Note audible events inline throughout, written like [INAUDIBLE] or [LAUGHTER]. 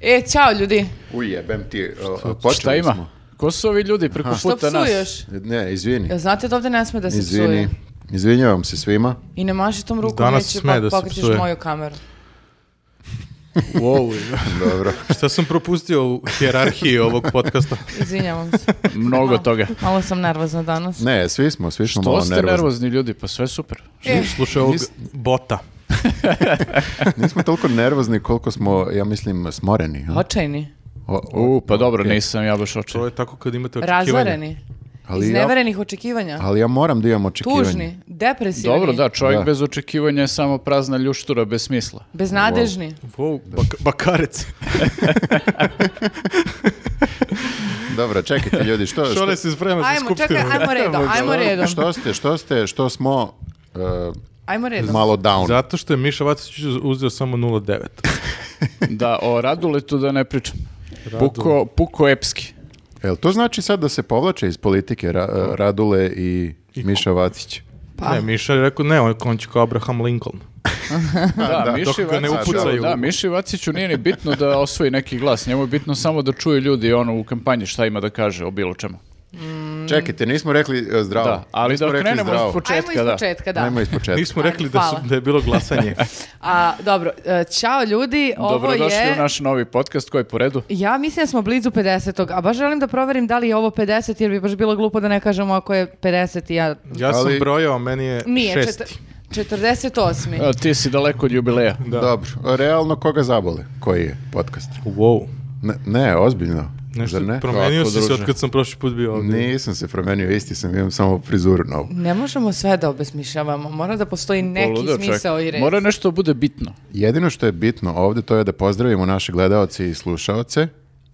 E, ćao ljudi. Ujebem ti, uh, počeli Šta ima? smo. Ko su ovi ljudi preko Što puta nas? psuješ? Ne, izvini. Jel znate da ovdje ne sme da se psuje? Izvini. Izvinjavam se [LAUGHS] svima. I ne maši tom rukom, Danas neće sme pa da se pokrećeš psuje. moju kameru. Wow, Dobro. [LAUGHS] Šta sam propustio u hjerarhiji ovog podcasta? Izvinjavam se. mnogo Malo- toga. Malo sam nervozna danas. Ne, svi smo, svi smo To malo ste nervozni. nervozni ljudi, pa sve super. E, Slušaj ovog Nis- bota. Nismo toliko nervozni koliko smo, ja mislim, smoreni. a? očajni. O- o- U, pa dobro, okej. nisam ja baš To očin. je tako kad imate očekivanja. Razvareni. Ali Iz ja- neverenih očekivanja. Ali ja moram da imam očekivanje. Tužni. Depresivni. Dobro, da, čovjek Da. bez očekivanja je samo prazna ljuštura, bez smisla. Beznadežni. Wow, bak- bakarec. Dobro, čekajte ljudi, [LAUGHS] Pa što, što, Šore se sprema za Ajmo, skupštinu. čekaj, ajmo [LAUGHS] redom, ajmo redom. što ste, što ste, što smo uh, Ajmo redom. malo down. [LAUGHS] Zato što je Miša Vacić uzeo samo 0,9. Da, o Raduletu da ne pričam. Puko, puko epski. Jel to znači sad da se povlače iz politike Ra- uh, Radule i, Miša Vacić? Pa. Ne, Miša je rekao, ne, on je- on će kao Abraham Lincoln. [LAUGHS] Da, Miši dok ga ne Vaciću- upucaju. Da, Miši Vaciću nije ni bitno da osvoji neki glas. Njemu je bitno samo da čuje ljudi ono u kampanji šta ima da kaže o bilo čemu. Čekajte, nismo rekli uh, zdravo. Da, ali Nismo da rekli krenemo zdravo. Ajmo iz početka, iz da. početka, da. Ajmo iz početka. Nismo Ajmo, rekli da, su, hvala. da je bilo [LAUGHS] glasanje. A, dobro, e, ćao ljudi, ovo Dobrodošli je... u naš novi podcast koji je po redu. Ja mislim da smo blizu 50. A baš želim da proverim da li je ovo 50 jer bi baš bilo glupo da ne kažemo ako je 50 i ja... Ja sam Ali- brojao, meni je Nije, šesti. četir- 48. A, E, ti si daleko od jubileja. Da. Dobro, realno koga zabole koji je podcast? Wow. Ne, ne ozbiljno. Nešto Zar ne? promenio Tako, si se druže. od kad sam prošli put bio ovdje. Nisam se promenio, isti sam, imam samo frizuru novu. Ne možemo sve da obesmišljavamo, mora da postoji neki Poludeo čovjek. smisao i red. Mora nešto da bude bitno. Jedino što je bitno ovdje to je da pozdravimo naše gledaoce i slušaoce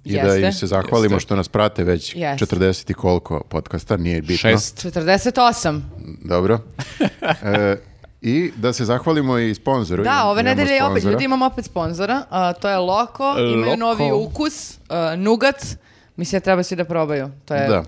i Jeste. da im se zahvalimo Jeste. što nas prate već Jeste. 40 i koliko podcasta, nije bitno. Šest. 48. Dobro. [LAUGHS] E, I da se zahvalimo i sponzoru. Da, ove Imamo nedelje opet sponzora. ljudi imamo opet sponzora, a, to je Loko, imaju Loko. novi ukus, a, nugat, mislim da treba svi da probaju. To je, Da.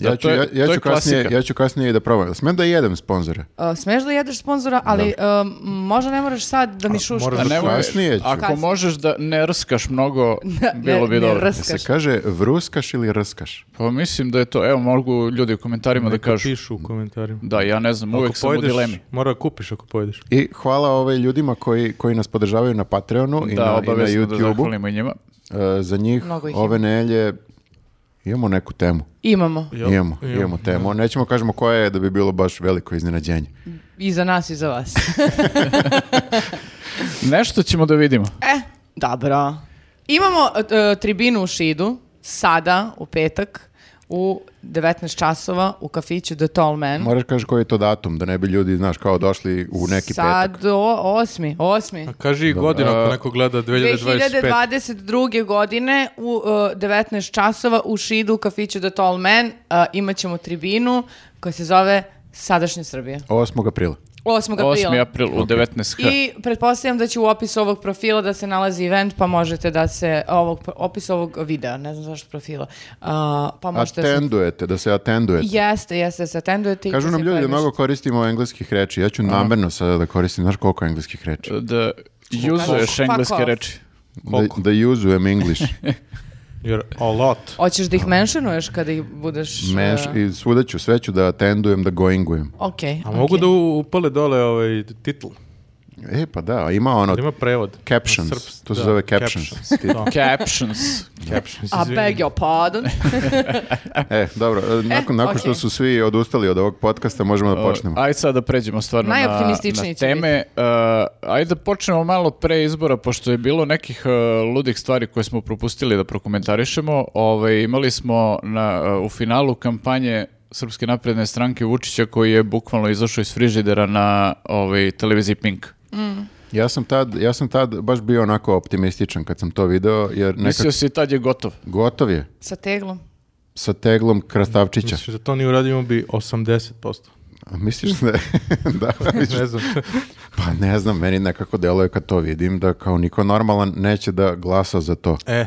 Ja Da, ću, to je- ja, ja to je ću kasnije, klasika. ja ću kasnije i da probam. Smem da jedem sponzore? a, smeš da jedeš sponzora, ali a, m, možda ne moraš sad da mi šuškaš. moraš da nemoj- Pa kasnije ću. Pa ako Kasnije. možeš da ne rskaš [LAUGHS] mnogo, Ne- bilo bi ne dobro. rskaš. Se kaže vruskaš ili rskaš? Pa mislim da je to, evo mogu ljudi u komentarima da Neka kažu. pišu u komentarima. Da, ja ne znam, uvek Ako sam u pojedeš, dilemi. Mora kupiš ako pojedeš. I hvala ovaj ljudima koji, koji nas podržavaju na Patreonu i Da, na, i na obavezno da YouTubeu. zahvalimo i njima. E, za njih Mnogo ih ima. ove nelje imamo neku temu. Imamo. Jel? Imamo, Jel? imamo temu. Nećemo kažemo koja je da bi bilo baš veliko iznenađenje. I za nas i za vas. Nešto ćemo da vidimo. E, dobro. Imamo e, tribinu u Šidu, sada, u petak, u 19 časova u kafiću The Tall Man. Moraš kaži koji je to datum, da ne bi ljudi, znaš, kao došli u neki Sad petak. o, osmi, osmi. A kaži i godinu ako neko gleda 2025. 2022. godine u e, 19 časova u Šidu u kafiću The Tall Man e, imat ćemo tribinu koja se zove Sadašnja Srbija. 8. aprila. 8. aprila. 8. april u 19h. ono. I pretpostavljam da će u opisu ovog profila da se nalazi event, pa možete da se ovog opis ovog videa, ne znam zašto profila. a, pa možete da se- Atendujete, da se atendujete. Jeste, jeste, se atendujete. i Kažu da nam se ljudi da pojaviš. mnogo koristimo engleskih reči. Ja ću namerno sada da koristim, znaš koliko engleskih reči? Da juzuješ Fuck off. engleske reči. Da, da usujem [LAUGHS] English. Jer a lot. Hoćeš da ih menšinuješ kada ih budeš... [LAUGHS] Meš, e, I svuda ću, sve ću da atendujem, da goingujem. Ok. A mogu da u- upale dole ovaj titl? E, pa da, a ima ono, Ima prevod. na Captions, srpski, to se da, zove captions. Ti- da. [LAUGHS] Captions. [LAUGHS] Captions, A izvini. beg your pardon. e, dobro, e, nakon, nakon što okej. su svi odustali od ovog podcasta, možemo da Pa počnemo. Aj sad da pređemo stvarno na, Najoptimističniji na će teme. Uh, ajde da počnemo malo pre izbora, pošto je bilo nekih uh, ludih stvari koje smo propustili da prokomentarišemo. Ove, imali smo na, uh, u finalu kampanje Srpske napredne stranke Vučića koji je bukvalno izašao iz frižidera na ovaj, televiziji Pink. Ja sam tad, ja sam tad baš bio onako optimističan kad sam to video, jer nekak Mislio si tad je gotov. gotov je Sa teglom. sa teglom Krastavčića. Misliš da to ni uradio bi [LAUGHS] 80%. A Misliš da je- [LAUGHS] da, misliš- Ne znam. pa ne znam, meni nekako deluje kad to vidim da kao niko normalan neće da glasa za to. E,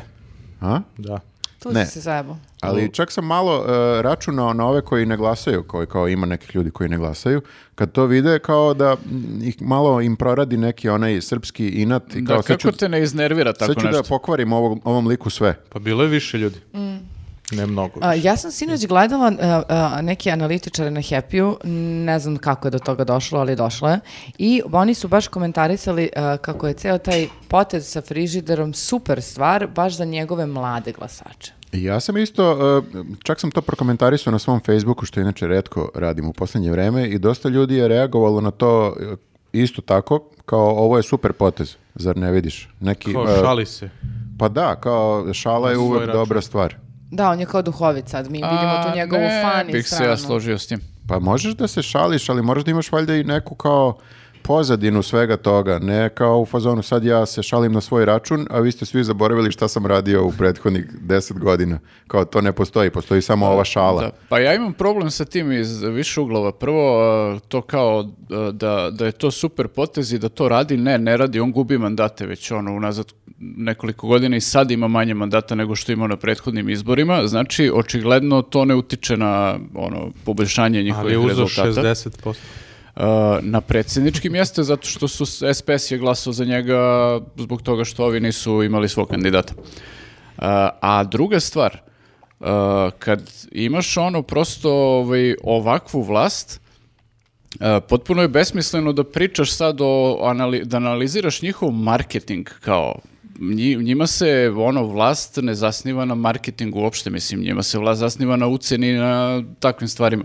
A? da. Tu Ne. si se zajebao. Ali čak sam malo e, računao na ove koji ne glasaju, koji kao ima nekih ljudi koji ne glasaju, kad to vide kao da mm, ih malo im proradi neki onaj srpski inat i kao Da, sad ću, kako te ne iznervira sad tako ću da nešto? pokvarim ovog- ovom liku sve. Pa bilo je više ljudi. Ne mnogo. A, ja sam sinoć gledala a, a, neke analitičare na Happy-u, ne znam kako je do toga došlo, ali došlo je. I oni su baš komentarisali a, kako je ceo taj potez sa frižiderom super stvar, baš za njegove mlade glasače. I Ja sam isto, e, čak sam to prokomentarisao na svom Facebooku, što inače redko radim u posljednje vreme i dosta ljudi je reagovalo na to e, isto tako, kao ovo je super potez, zar ne vidiš? Neki, Kao e, šali se. Pa da, kao šala je svoj uvek račun. dobra stvar. Da, on je kao duhovit sad, mi vidimo A, tu njegovu ne, fani bih se stranu. ja složio s tim. Pa možeš da se šališ, ali moraš da imaš valjda i neku kao pozadinu svega toga, ne kao u fazonu sad ja se šalim na svoj račun, a vi ste svi zaboravili šta sam radio u prethodnih deset godina. Kao to ne postoji, postoji samo ova šala. Da. Pa ja imam problem sa tim iz više uglova. Prvo, e, to kao e, da, da je to super potez i da to radi. Ne, ne radi, on gubi mandate već ono unazad nekoliko godina i sad ima manje mandata nego što je imao na prethodnim izborima. Znači, očigledno to ne utiče na ono poboljšanje Ali je njihovih uzao rezultata. 60%. E, na predsjedničkim mjestu zato što su s- SPS je glasao za njega zbog toga što ovi nisu imali svog kandidata. E, a druga stvar, e, kad imaš ono prosto ovaj, ovakvu vlast, e, potpuno je besmisleno da pričaš sad o, anali- da analiziraš njihov marketing kao nji- njima se ono vlast ne zasniva na marketingu uopšte, mislim, njima se vlast zasniva na uceni i na takvim stvarima.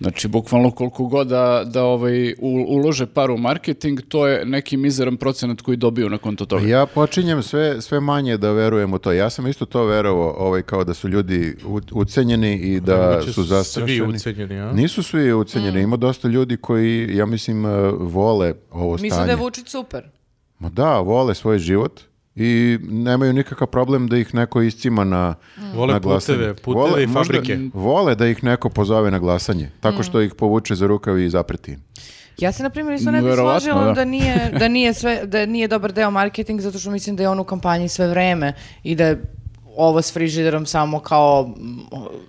Znači, bukvalno koliko god da, da ovaj, u- ulože par u marketing, to je neki mizeran procenat koji dobiju na konto toga. Ja počinjem sve, sve manje da verujem u to. Ja sam isto to verovao, ovaj, kao da su ljudi u- ucenjeni i da Znači, su zastrašeni. Svi ucenjeni, a? Nisu svi Mm. ucenjeni, ima dosta ljudi koji, ja mislim, eh, vole ovo stanje. Mislim da je Vučić super. Ma da, vole svoj život i nemaju nikakav problem da ih neko iscima na, Vole na glasanje. puteve, puteve i možda fabrike. Vole da ih neko pozove na glasanje, tako što ih povuče za rukav i zapreti im. Ja se na primjer isto ne bi Verovatno, složila da. da. nije da nije sve da nije dobar deo marketing zato što mislim da je on u kampanji sve vreme i da je ovo s frižiderom samo kao mm,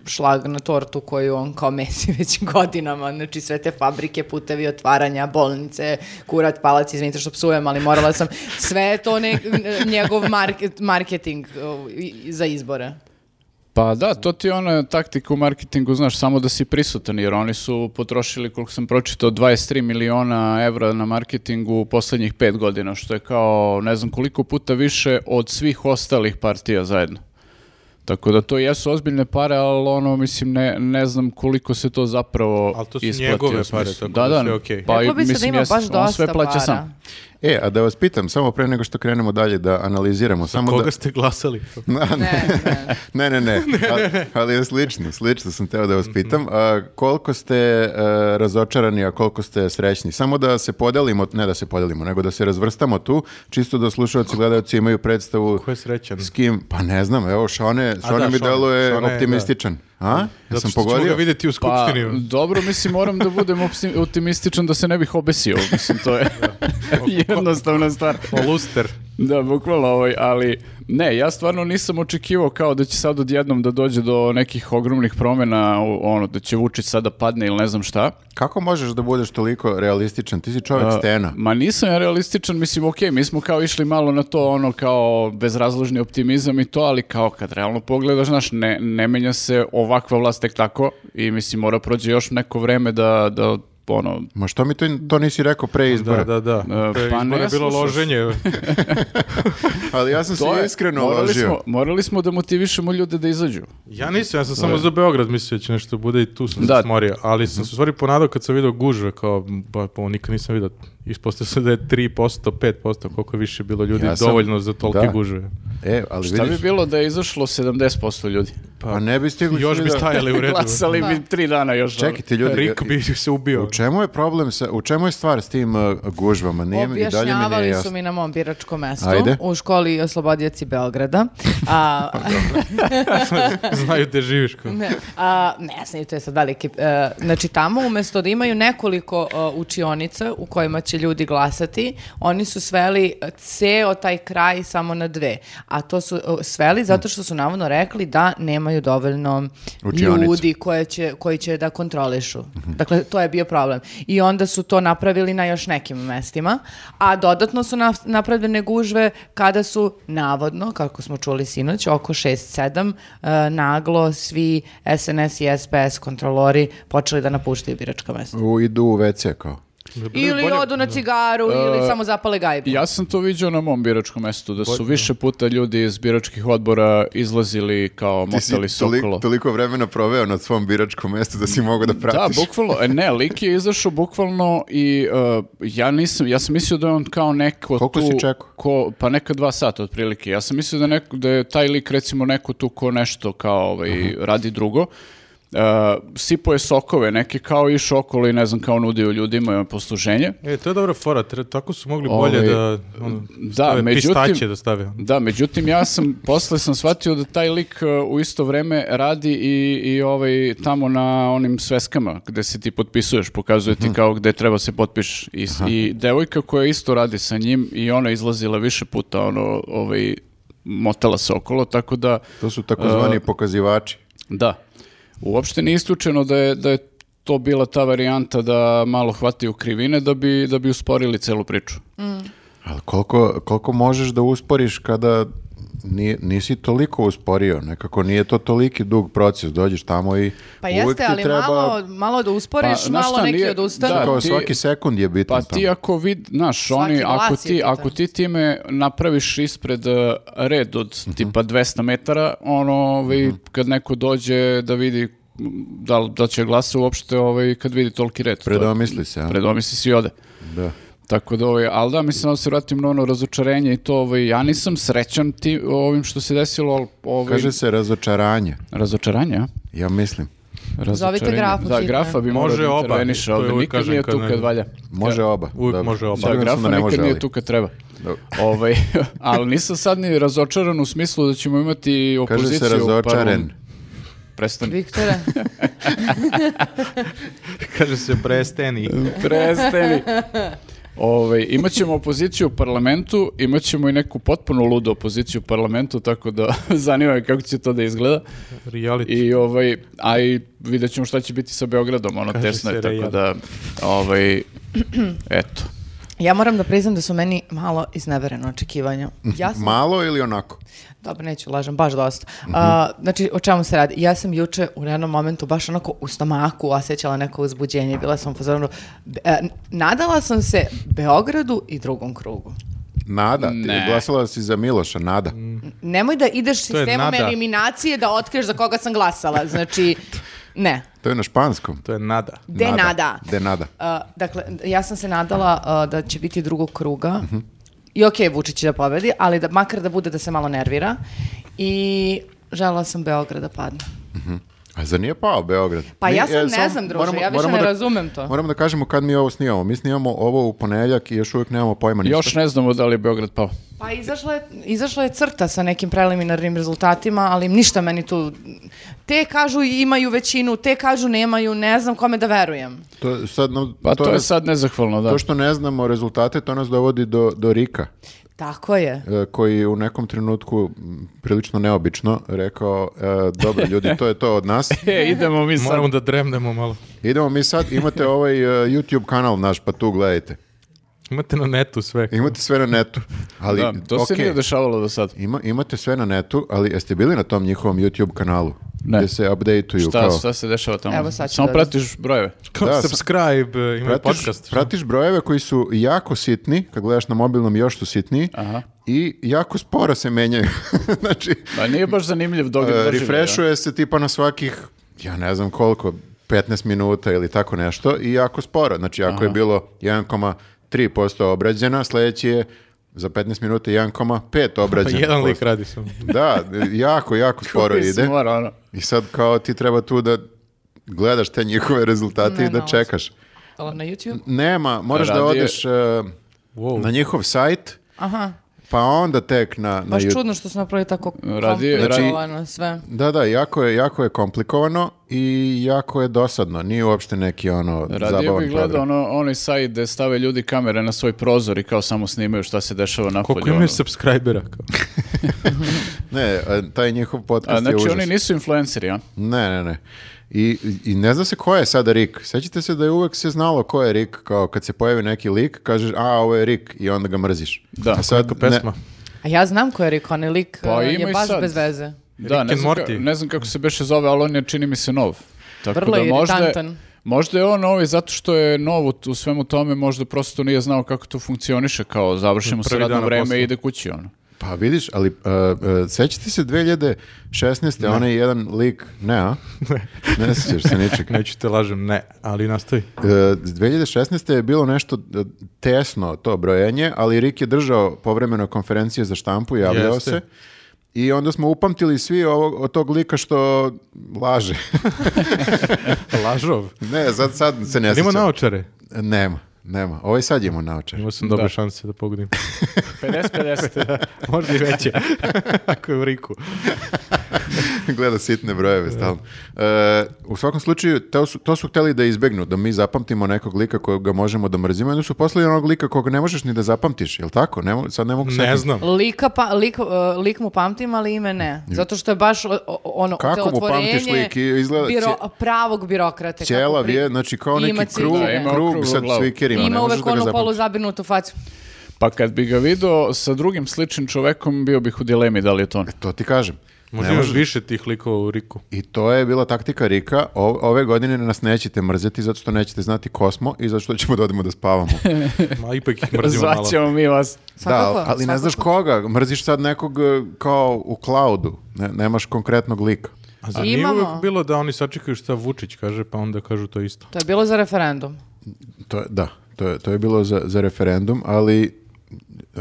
šlag na tortu koju on kao mesi [LAUGHS] već godinama. Znači sve te fabrike, putevi otvaranja, bolnice, kurat, palac, izvinite što psujem, ali morala sam. Sve je to ne, njegov market, marketing uh, i- i za izbore. Pa da, to ti je ona taktika u marketingu, znaš, samo da si prisutan, jer oni su potrošili, koliko sam pročitao, 23 miliona evra na marketingu u poslednjih pet godina, što je kao ne znam koliko puta više od svih ostalih partija zajedno. Tako da to jesu ozbiljne pare, ali ono, mislim, ne, ne znam koliko se to zapravo Ali to su isplati, njegove u smislu. pare, tako da, da da, sve okej. pa, i- Rekla bi se da mislim, ima jes- baš on dosta sve plaća para. sam. E, a da vas pitam, samo pre nego što krenemo dalje da analiziramo. samo Koga da... ste glasali? Na- Ne, ne. Ne, [LAUGHS] ne, ne, ali, ali je slično, slično sam teo da vas Mhm. pitam. A, koliko ste e, razočarani, a koliko ste srećni? Samo da se podelimo, ne da se podelimo, nego da se razvrstamo tu, čisto da slušalci i gledalci imaju predstavu Ko je srećan? s kim, pa ne znam, evo Šone, Šone da, mi Šone, deluje Šone, optimističan. A? Ja Zato sam što ćemo ga pogodio? vidjeti u Pa, skupštini. dobro, mislim, moram da budem opsi- optimističan da se ne bih obesio, mislim, to je [LAUGHS] jednostavna stvar. Poluster. Da, bukvalno ovaj, ali ne, ja stvarno nisam očekivao kao da će sad odjednom da dođe do nekih ogromnih promjena, u- ono, da će Vučić sada padne ili ne znam šta. Kako možeš da budeš toliko realističan? Ti si čovjek A, stena. Ma nisam ja realističan, mislim, okej, mi smo kao išli malo na to, ono, kao bezrazložni optimizam i to, ali kao kad realno pogledaš, znaš, ne, ne menja se ovakva vlast tek tako i mislim, mora prođe još neko vreme da, da ono, Ma što mi to, to nisi rekao pre izbora? Da, da, da. To je pa ne izbore bilo slušaš. loženje. Ali ja sam se je- iskreno morali ložio. Smo, morali smo da motivišemo ljude da izađu. Ja nisam, ja sam samo za Beograd mislio da će nešto bude i tu sam Da. se smorio. Ali sam se u stvari ponadao kad sam vidio gužve, kao, ba, pa ovo nikad nisam vidio. Ispostavio se da je 3%, 5%, koliko je više bilo ljudi Ja sam- dovoljno za tolike da. gužve. E, ali Šta vidiš, bi bilo da je izašlo 70% ljudi? Pa ne bi stigli Još svi bi da- stajali Pa u redu. Glasali Da. bi tri dana još. ono. Čekajte ljudi, Rik bi se ubio. u čemu je problem sa, u čemu je stvar s tim uh, gužvama? Nije, mi- I dalje mi nije Objašnjavali su jasno. mi na mom biračkom mestu Ajde. u školi Oslobodjaci Beograda. A, [LAUGHS] [LAUGHS] Znaju gde živiš. kao. ne, a, ne znaju, to je sad veliki... e, znači tamo umesto da imaju nekoliko e, učionica u kojima će ljudi glasati, oni su sveli ceo taj kraj samo na dve. A to su e, sveli zato što su navodno rekli da nemaju dovoljno Učionica. ljudi koje će, koji će da kontrolišu. Dakle, to je bio problem. I onda su to napravili na još nekim mestima, a dodatno su na, napravljene gužve kada su navodno, kako smo čuli sinoć, oko 6-7 e, naglo svi SNS i SPS kontrolori počeli da napuštaju biračka mesta. U, idu u WC kao. Ili odu na cigaru, E, ili samo zapale gajbu. Ja sam to viđao na mom biračkom mestu, da Pa- su više puta ljudi iz biračkih odbora izlazili kao Ti si motali toliko- sokolo. toliko vremena proveo na svom biračkom mestu da si mogao da Da, pratiš. bukvalno, e, ne, lik je izašao bukvalno i uh, ja nisam, ja sam mislio da je on kao neko Koliko tu... si čekao? Ko, pa neka dva sata otprilike. Ja sam mislio da, neko, da je taj lik recimo neko tu ko nešto kao ovaj, radi drugo. Uh, sipo je sokove neke kao išao okolo i ne znam kao nudio ljudima posluženje. E, to je dobra fora, tre- tako su mogli bolje Ovaj, da, ono, da, stave međutim- pistaće da stave. [LAUGHS] Da, međutim ja sam posle sam shvatio da taj lik e, u isto vreme radi i i ovaj tamo na onim sveskama gde se ti potpisuješ, pokazuje ti kao gde treba se potpiš i, s- i devojka koja isto radi sa njim i ona je izlazila više puta ono ovaj motala se okolo, tako da To su takozvani pokazivači. da. Uopšte nije isključeno da je da je to bila ta varijanta da malo hvataju krivine da bi da bi usporili celu priču. Ali koliko, koliko možeš da usporiš kada nije- nisi toliko usporio, nekako nije to toliki dug proces, dođeš tamo i Pa uvek jeste, ti ali treba, malo, malo da usporiš, Pa, znaš malo šta, neki nije- odustanu. da, kao Pa ti- svaki sekund je bitan Pa tamo. ti ako vid, znaš, Svaki oni, glas ako je ti, bitan. ako ti time napraviš ispred eh, red od Mhm. tipa 200 metara, ono, ovaj, kad neko dođe da vidi da, li- da će glasa uopšte ovaj, kad vidi toliki red. To je- Predomisli se, a? Predomisli si i ode. Da. Tako da, ovaj, ali da, mislim da se vratim na ono razočarenje i to, ovaj, ja nisam srećan ti, ovim što se desilo, ali, ovaj, Kaže se razočaranje, razočaranje, a? ja mislim. Razočarenje. grafu, Da, hitno. grafa bi morao Može da oba, interveniše, to je ovde uvijek nikad kažem nije kad tu ne- kad valja. Može oba. Uvijek dobro. može oba. Siguran Da, sam grafa da ne može, nikad nije ali- tu kad treba. Dobro. [LAUGHS] Ovaj, ali nisam sad ni razočaran u smislu da ćemo imati Kaže opoziciju. se razočaren. parlament- Prestani. Viktore, Kaže se presteni. Prestani. Ovaj, imat ćemo opoziciju u parlamentu, imat ćemo i neku potpuno ludu opoziciju u parlamentu, tako da [LAUGHS] zanima me kako će to da izgleda. Reality. I ovaj, a i vidjet ćemo šta će biti sa Beogradom, ono Kaže tesno je, se tako Rejan. da, ovaj, eto. ja moram da priznam da su meni malo iznevereno očekivanja. Mhm. Ja sam Malo ili onako? Dobro, neću lažem, baš dosta. Mhm. A, znači, o čemu se radi? Ja sam juče u jednom momentu baš onako u stomaku osjećala neko uzbuđenje. i Bila sam pozorno... nadala sam se Beogradu i drugom krugu. Nada, ti Ne. Mm. glasala si za Miloša, Nada. Nemoj da ideš je sistemom nada. eliminacije da otkriješ za koga sam glasala. Znači, ne. To je na španskom. To je nada. De nada. De Nada. A, dakle, ja sam se nadala a, da će biti drugog kruga. Mhm. I okej, Vučić će da pobedi, ali da, makar da bude da se malo nervira. I želela sam Beograd da padne. A zar nije pao Beograd? Pa ja Mi- sad e, ne samo znam, druže, ja više ne razumem to. Moramo da kažemo kad mi ovo snimamo. Mi snimamo ovo u ponedjeljak i još uvijek nemamo pojma ništa. Još ne znamo da li je Beograd pao. Pa izašla je, izašla je crta sa nekim preliminarnim rezultatima, ali ništa meni tu... Te kažu imaju većinu, te kažu nemaju, ne znam kome da verujem. To, je sad, nam- Pa to, je nas- sad nezahvalno, da. To što ne znamo rezultate, to nas dovodi do, do Rika, Tako je. e, koji u nekom trenutku, m, prilično neobično, rekao, e, dobro ljudi, to je to od nas. E, idemo mi sad. Moramo da dremnemo malo. Idemo mi sad, imate ovaj e, YouTube kanal naš, pa tu gledajte. Imate na netu sve. Imate sve na netu. Ali, Da, to se okej, nije dešavalo do sad. Ima, imate sve na netu, ali jeste bili na tom njihovom YouTube kanalu? Ne. Gde se updateuju Šta, kao... šta se dešava tamo? Evo sad ću Samo da- pratiš brojeve. Kao Da, subscribe, ima Pratiš, podcast. pratiš brojeve koji su jako sitni, kad gledaš na mobilnom još su sitniji, Aha. i jako sporo se menjaju. [LAUGHS] znači, Pa nije baš zanimljiv e, događaj. refreshuje se tipa na svakih, ja ne znam koliko, 15 minuta ili tako nešto i jako sporo. Znači, ako je bilo 1,3% obrađena, sljedeći je Za 15 minuta 1,5 obrađen. Pa Jedan lik radi sam. Da, jako, jako sporo Mislim, ide. mora ono. I sad kao ti treba tu da gledaš te njihove rezultate Ne, i da nalazi. čekaš. Jel na YouTube? Nema, moraš da Radio- odeš e, Wow. na njihov sajt, Aha, pa onda tek na, na baš YouTube. čudno što su napravili tako Radi- komplikovano sve. Da, da, jako je, jako je komplikovano i jako je dosadno. Nije uopšte neki ono Radio zabavan bih gledao program. ono, onaj sajt gde stave ljudi kamere na svoj prozor i kao samo snimaju šta se dešava na ono. Koliko imaju subscribera? Kao? Ne, a, taj njihov podcast A, znači je užas. oni nisu influenceri, a? Ne, ne, ne. I, I ne zna se ko je sada Rik. Sećate se da je uvek se znalo ko je Rik, kao kad se pojavi neki lik, kažeš, a, ovo je Rik, i onda ga mrziš. Da. A sad, Kako pesma? Ne, A ja znam ko je Rick, onaj lik Pa uh, ima je i baš sad. bez veze. Da, Rick ne and znam, ka- Morty. ne znam kako se beše zove, ali on je čini mi se nov. Tako Vrlo da je možda, je- iritantan. možda je on novi zato što je nov u, u svemu tome, možda prosto nije znao kako to funkcioniše, kao završimo se Prvi radno dan na vreme poslu. i ide kući ono. pa vidiš, ali uh, uh, sećate se 2016. onaj jedan lik, ne, a? ne sećaš se ničeg. Neću te lažem, ne, ali nastavi. E, 2016. je bilo nešto e, tesno to brojenje, ali Rik je držao povremeno konferencije za štampu, javljao Jeste. se. I onda smo upamtili svi ovog, od tog lika što laže. [LAUGHS] Lažov. ne, sad, sad se ne Nima sjećam. naočare. Nema, nema. Ovaj sad je imao naočar. Imao sam dobre Da. šanse da pogodim. [LAUGHS] 50-50. Možda i veće. [LAUGHS] Ako je u Riku. [LAUGHS] Gleda sitne brojeve stalno. E, u svakom slučaju, to su, to su hteli da izbegnu, da mi zapamtimo nekog lika kojeg ga možemo da mrzimo. I onda su poslali onog lika kog ne možeš ni da zapamtiš, jel tako? Ne, mo- sad ne mogu Ne setiti. znam. Lika pa, lik, uh, lik mu pamtim, ali ime ne. Zato što je baš o- o- ono Kako mu otvorenje pamtiš lik? I- izgleda biro- cije- pravog birokrate. kako Ćelav pri- je, znači kao neki Ima krug, cigare. Da, ima krug okruglu sa glavu. cvikerima. ne Ima možeš uvek ono da ga onu zapamtiš. poluzabinutu facu. pa kad bi ga video sa drugim sličnim čovekom, bio bih u dilemi da li je to on. E, To ti kažem. Možda Ne imaš može. više tih likova u Riku. I to je bila taktika Rika. O- ove godine nas nećete mrzeti zato što nećete znati ko smo i zato što ćemo da odemo da [LAUGHS] spavamo. Ma ipak ih mrzimo malo. Zvaćemo mi vas. Svakako, da, ali ne znaš svakako. koga. Mrziš sad nekog e, kao u cloudu. Ne, nemaš konkretnog lika. A zar nije Imamo. uvek bilo da oni sačekaju šta Vučić kaže, pa onda kažu to isto. To je bilo za referendum. To je, da, to je, to je bilo za, za referendum, ali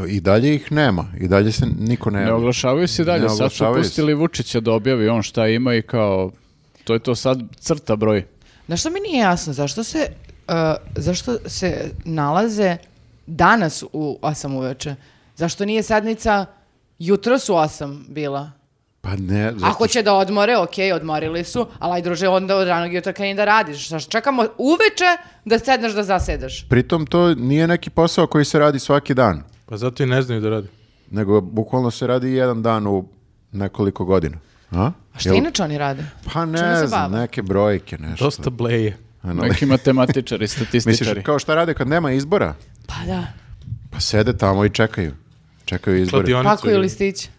i dalje ih nema. I dalje se niko ne... Ne oglašavaju se i dalje, Ne sad su oglašavaju se. pustili Vučića da objavi on šta ima i kao, to je to sad crta broj. Znaš što mi nije jasno? Zašto se, uh, zašto se nalaze danas u 8 uveče? Zašto nije sednica jutros u 8 bila? Pa ne, zato Ako će da odmore, okej, odmorili su, ali aj druže, onda od ranog jutra kreni da radiš. Znaš, čekamo uveče da sedneš da zasedaš. Pritom to nije neki posao koji se radi svaki dan, Pa zato i ne znaju da radi. nego bukvalno se radi jedan dan u nekoliko godina. A? A šta Jel- inače oni rade? Pa Čime ne se znam, bave? neke brojke, nešto. Dosta bleje. Ano, Neki [LAUGHS] matematičari, misliš, statističari. kao šta rade kad nema izbora? Pa da. Pa sede tamo i čekaju. Čekaju izbore. Kladionicu Pakuju igraju. listić.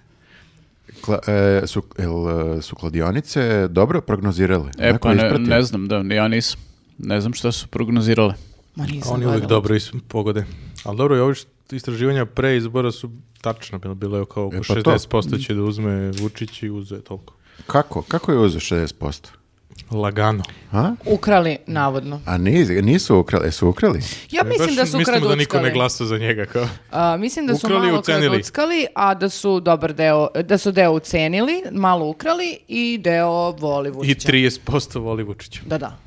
Kla- e, su, jel, e, su kladionice dobro prognozirale? E Neko pa je ne, ispratio? ne znam, da, ja nisam. Ne znam šta su prognozirale. Ma nisam Oni uvek gledala. dobro is- pogode. Ali dobro, i ovi št- istraživanja pre izbora su tačna, bilo, bilo je kao oko E, pa to. 60% će da uzme Vučić i uze toliko. Kako? Kako je uzeo 60%? Lagano. A? Ukrali, navodno. A niz- nisu ukrali, e, su ukrali? Ja mislim Baš da su Mislimo da niko ne kraduckali. glasa za njega. Kao. A, mislim da su Ukrali i malo ucenili. kraduckali, a da su dobar deo, da su deo ucenili, malo ukrali i deo voli I Vučića. 30% voli Vučića. Da, da.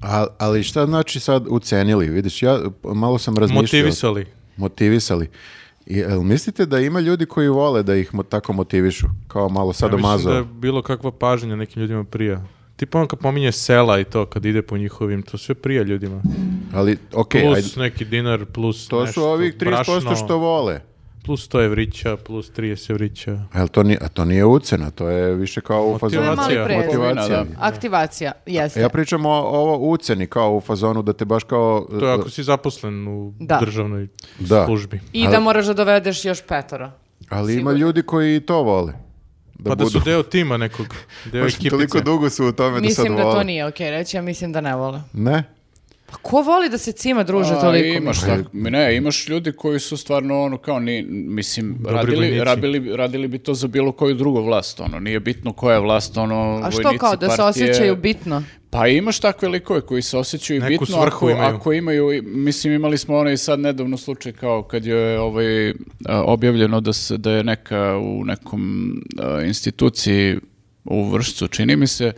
A, ali šta znači sad ucenili? Vidiš, ja p- malo sam razmišljao. Motivisali. Motivisali. I, jel mislite da ima ljudi koji vole da ih mo- tako motivišu? Kao malo Ja mislim sadomazo. da je bilo kakva pažnja nekim ljudima prija. Tipa on kad pominje sela i to, kad ide po njihovim, to sve prija ljudima. Ali, okej, plus ajde. neki dinar, plus To nešto, su ovih 30% brašno, što vole. Plus 100 evrića, plus 30 evrića. A, jel to nije, a to nije ucena, to je više kao u fazonu. To je mali Motivacija. prez. Motivacija. Kupovina, Aktivacija, jeste. Ja pričam o ovo uceni kao u fazonu da te baš kao... e, To je ako si zaposlen u Da. državnoj Da. službi. I da moraš da dovedeš još petoro. Ali ima Sigurno. ljudi koji i to vole. Da pa da budu. su deo tima nekog, [LAUGHS] deo Baš ekipice. toliko dugo su u tome da sad Mislim da vole. to nije okej reći, ja mislim da ne vole. Ne? Pa ko voli da se cima druže A, toliko? imaš mislim? tak- ne, imaš ljudi koji su stvarno ono kao ni, mislim, radili, vojnici. radili, radili bi to za bilo koju drugu vlast, ono, nije bitno koja je vlast, ono, A što vojnici, kao da se partije. osjećaju bitno? Pa imaš takve likove koji se osjećaju Neku bitno svrhu ako, imaju. ako imaju, i- mislim imali smo onaj sad nedavno slučaj kao kad je ovaj, a, objavljeno da, se, da je neka u nekom a, instituciji u Vršcu, čini mi se,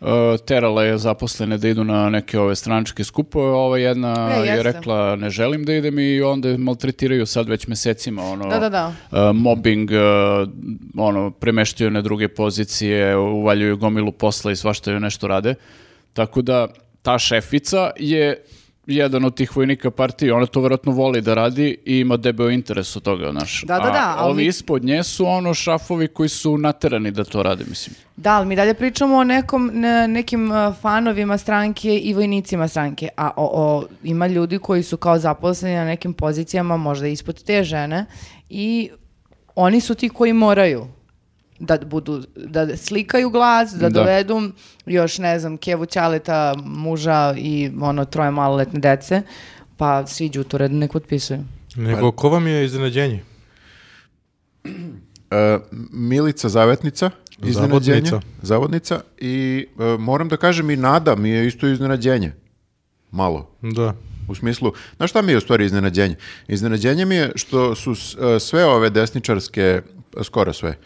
a, terala je zaposlene da idu na neke ove stranačke skupove, a ova jedna E, je jeste. rekla ne želim da idem i onda je maltretiraju sad već mesecima ono, Da, da, da. e, mobbing, e, ono, premeštuju na druge pozicije, uvaljuju gomilu posla i svašta joj nešto rade. Tako da, ta šefica je jedan od tih vojnika partije, ona to vjerojatno voli da radi i ima debeo interes od toga, znaš. Da, da, da, A ali ovi mi- ispod nje su ono šafovi koji su naterani da to rade, mislim. Da, ali mi dalje pričamo o nekom, ne- nekim uh, fanovima stranke i vojnicima stranke, a o, o- ima ljudi koji su kao zaposleni na nekim pozicijama možda ispod te žene i oni su ti koji moraju da budu da slikaju glas, da, Da. dovedu još ne znam Kevu Ćaleta, muža i ono troje maloletne dece, pa svi đutured nek potpisuju. Nego, ko vam je iznenađenje? E, Milica Zavetnica, iznenađenje. Zavodnica. Zavodnica. I e, moram da kažem i Nada mi je isto iznenađenje. Malo. Da. U smislu, znaš šta mi je u stvari iznenađenje? Iznenađenje mi je što su s- e, sve ove desničarske, skoro sve,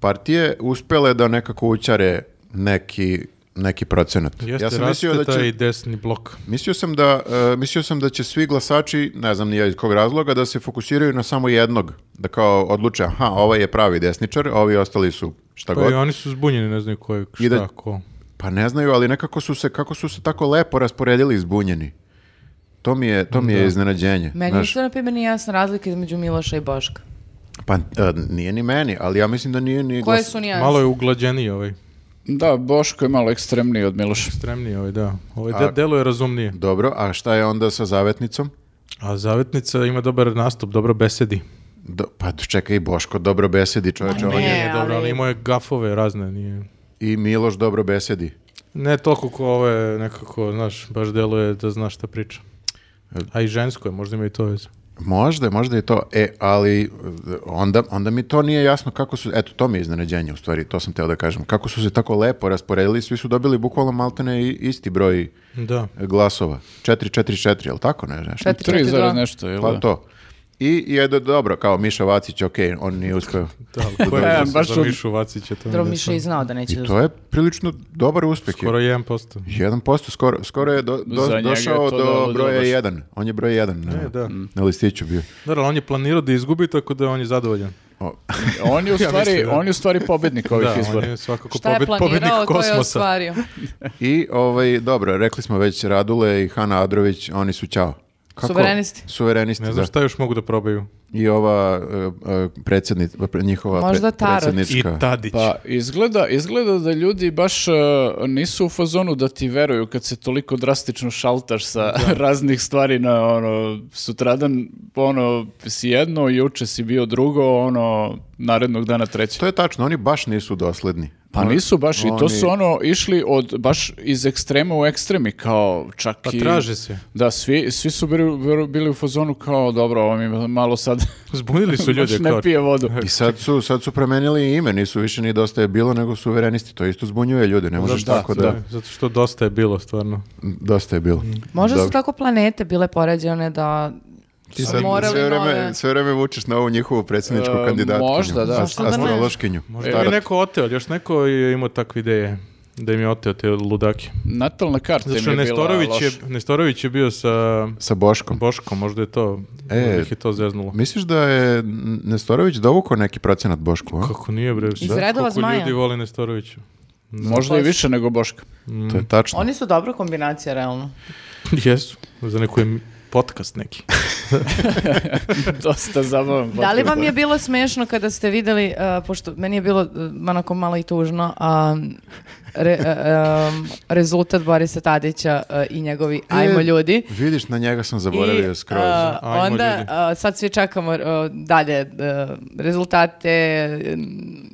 partije uspele da nekako učare neki, neki procenat. Jeste, ja sam mislio da će... taj desni blok. Mislio sam, da, e, mislio sam da će svi glasači, ne znam ni ja iz kog razloga, da se fokusiraju na samo jednog. Da kao odluče, aha, ovaj je pravi desničar, a ovi ostali su šta Pa god. i oni su zbunjeni, ne znaju ko je šta, I da- ko. Pa ne znaju, ali nekako su se, kako su se tako lepo rasporedili zbunjeni. To mi je, to mi je iznenađenje. Meni znaš. isto na primjer nije jasna razlika između Miloša i Boška. Pa e, nije ni meni, ali ja mislim da nije ni... Koje glas- su nijanse? Malo je uglađeniji ovaj, Da, Boško je malo ekstremniji od Miloša. stremniji ovaj, da. Ovaj A- de, delo je razumnije. Dobro, a šta je onda sa zavetnicom? A zavetnica ima dobar nastup, dobro besedi. Do, pa čekaj, Boško dobro besedi, čoveče. on ne. je- Nije ali- dobro, ali imao je gafove razne, nije... I Miloš dobro besedi. Ne toliko ko ove, nekako, znaš, baš deluje da zna šta priča. E. A i žensko je, možda ima i to veze. Možda, možda i to. E, ali e, onda, onda mi to nije jasno kako su, eto, to mi je iznenađenje u stvari, to sam teo da kažem. Kako su se tako lepo rasporedili, svi su dobili bukvalno maltene i- isti broj Da. glasova. 4-4-4, jel tako ne? Nešto? Četiri, Tri četiri, dva. zarez nešto, jel? [LAUGHS] Pa da? to. I jedan, dobro, kao Miša Vacić, ok, on nije uspeo. Da, [LAUGHS] ali ko je E, vezan baš za sam- Mišu Vacića? To mi je Dobro, Miša sad- i znao da neće I da to je prilično dobar uspeh. Skoro 1%. 1% skoro, skoro je do- do- Za njega je došao to do dobro broja baš. 1. On je broj 1 na, E, da. na listiću bio. Dobro, ali on je planirao da izgubi, tako da on je zadovoljan. O, On je u stvari, mislim, da. on je u stvari [LAUGHS] pobednik ovih da, izbora. on je svakako Šta je pobed, pobednik planirao, to je kosmosa. [LAUGHS] ostvario. I ovaj, dobro, rekli smo već Radule i Hana Adrović, oni su ćao. Suverenisti. Suverenisti, Ne znam da. šta još mogu da probaju. I ova predsjednica, njihova pre- Možda tarot. I predsjednička. Tadić. Pa izgleda, izgleda da ljudi baš e, nisu u fazonu da ti veruju kad se toliko drastično šaltaš sa [LAUGHS] raznih stvari na ono sutradan ono si jedno, juče si bio drugo, ono narednog dana treće. To je tačno, oni baš nisu dosledni. Pa nisu baš i to Oni- su ono išli od baš iz ekstrema u ekstremi kao čak Pa i traže se. Da, svi, svi su bili, bili u fazonu kao dobro, ovo mi malo sad Zbunili su [LAUGHS] baš ljude. ne kao, pije [LAUGHS] vodu. I sad su, sad su promenili ime, nisu više ni dosta je bilo, nego suverenisti. To isto zbunjuje ljude, ne možeš da, tako da, da, Mm. Zato što dosta je bilo, stvarno. Dosta je bilo. Možda Dobro. su tako planete bile poređene da Ti su sad morali sve vreme, nove... sve vreme vučeš na ovu njihovu predsjedničku E, kandidatkinju. možda, da. Zašto da ne? Astrološkinju. Možda Tarot. je neko oteo, još neko je imao takve ideje da im je oteo te ludake. Natalna karta Zato im što je bila Nestorović je, loša. Nestorović je bio sa Sa Boškom. Boškom, možda je to, E. možda ih je to zeznulo. Misliš da je Nestorović dovukao neki procenat Bošku, a? Kako nije bre, Iz redova koliko zmaja. ljudi voli [LAUGHS] Nestorovića. Možda i više nego Boška. To je tačno. Oni su dobra kombinacija, realno. Jesu, za neku je podcast neki. Dosta zabavan. Da li podcast. vam je bilo smešno kada ste videli, uh, pošto meni je bilo uh, onako malo i tužno, a, re- uh, um, rezultat Borisa Tadića uh, i njegovi ajmo E, ljudi. Vidiš, na njega sam I zaboravio skroz. a, Ajmo onda ljudi. a, sad svi čekamo a, dalje a, rezultate, m,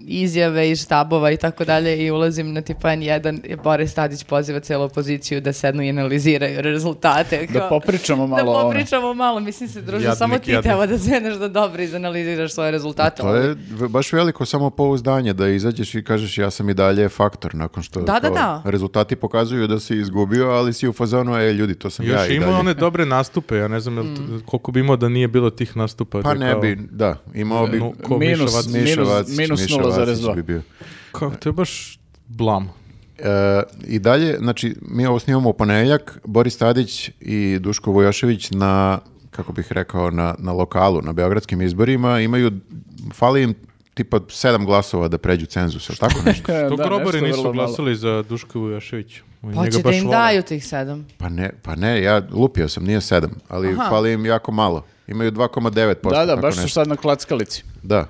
izjave iz štabova i tako dalje i ulazim na tipa N1 i Boris Tadić poziva celu opoziciju da sednu i analiziraju rezultate. Da Kao- popričamo da malo o ovome. popričamo malo, mislim se druže, ono. Jadnik, samo ti jadnik. Pa treba da zeneš da dobro izanaliziraš svoje rezultate. To je v- baš veliko samopouzdanje da izađeš i kažeš ja sam i dalje faktor nakon što Da, da, kao, da. rezultati pokazuju da si izgubio, ali si u fazonu, e, ljudi, to sam [LAUGHS] ja Još i ima dalje." one dobre nastupe, ja ne znam jel t- Mm. koliko bi imao da nije bilo tih nastupa. Pa da ne kao- bi, da, imao bi No, ko Minus- Miša Vacić? minus- Miša Vacić, minus Miša 0,2. Vacić bi bio. Kao, to je baš blam. E, I dalje, znači, mi ovo snimamo u ponedjeljak, Boris Tadić i Duško Vojošević na, kako bih rekao, na, na lokalu, na beogradskim izborima imaju, fali im tipa sedam glasova da pređu cenzus, ili tako nešto? To E, Da, grobari nešto nisu vrlo malo. glasali za Duška Vujaševića. Oni Pa njega će da baš im vole. daju tih sedam. Pa ne, pa ne, ja lupio sam, nije sedam, ali Aha. fali im jako malo. Imaju 2,9%. Da, da, tako baš su nešto. sad na klackalici. Da.